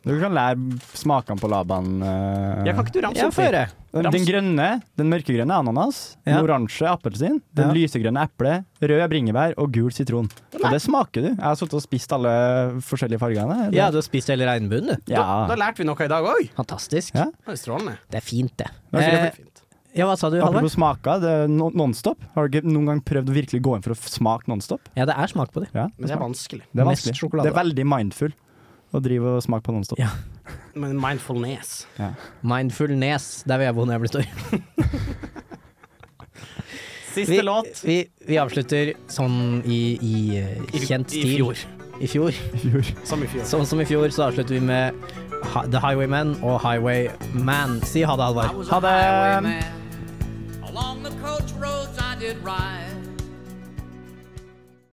S2: Du kan lære smakene på labban. eh,
S4: Jeg kan ikke du ramse
S3: Ja,
S4: opp
S3: få
S4: de?
S3: høre.
S2: den, den
S4: ramse-
S2: grønne, den mørkegrønne er ananas,
S3: Ja.
S2: den oransje er appelsin, den
S3: Ja.
S2: lysegrønne er eple, rød er bringebær og gul sitron. Og det smaker du. Jeg har sittet og spist alle forskjellige fargene.
S3: Ja, du har spist hele regnbuen, du.
S2: ja.
S4: Da, da lærte vi noe i dag òg.
S3: Fantastisk.
S2: Ja.
S4: Det er strålende.
S3: Det er fint, det.
S2: Det er
S3: Eh,
S4: Fint.
S3: ja, hva sa du, Halvard?
S2: Apropos smaker, det er no- Nonstop. Har du ikke noen gang prøvd å virkelig gå inn for å f- smake Nonstop?
S3: Ja, det er smak på det.
S2: Ja,
S4: Men det er vanskelig.
S2: det er
S3: mest
S2: vanskelig.
S3: sjokolade.
S2: Det er veldig mindful å drive og smake på Nonstop.
S3: Ja.
S4: Men mindfulness
S3: Mindfulness. Der vil jeg bo når jeg blir stor.
S4: Siste
S3: Vi,
S4: låt
S3: vi, vi avslutter sånn i, i eh, kjent
S4: i
S3: stil.
S4: fjor.
S3: I fjor.
S4: Som i fjor.
S3: Sånn som i fjor, så avslutter vi med Hi- The Highwaymen og Highwayman. Si ha det, Halvard.
S2: Ha det!
S9: Along the coach roads I did ride.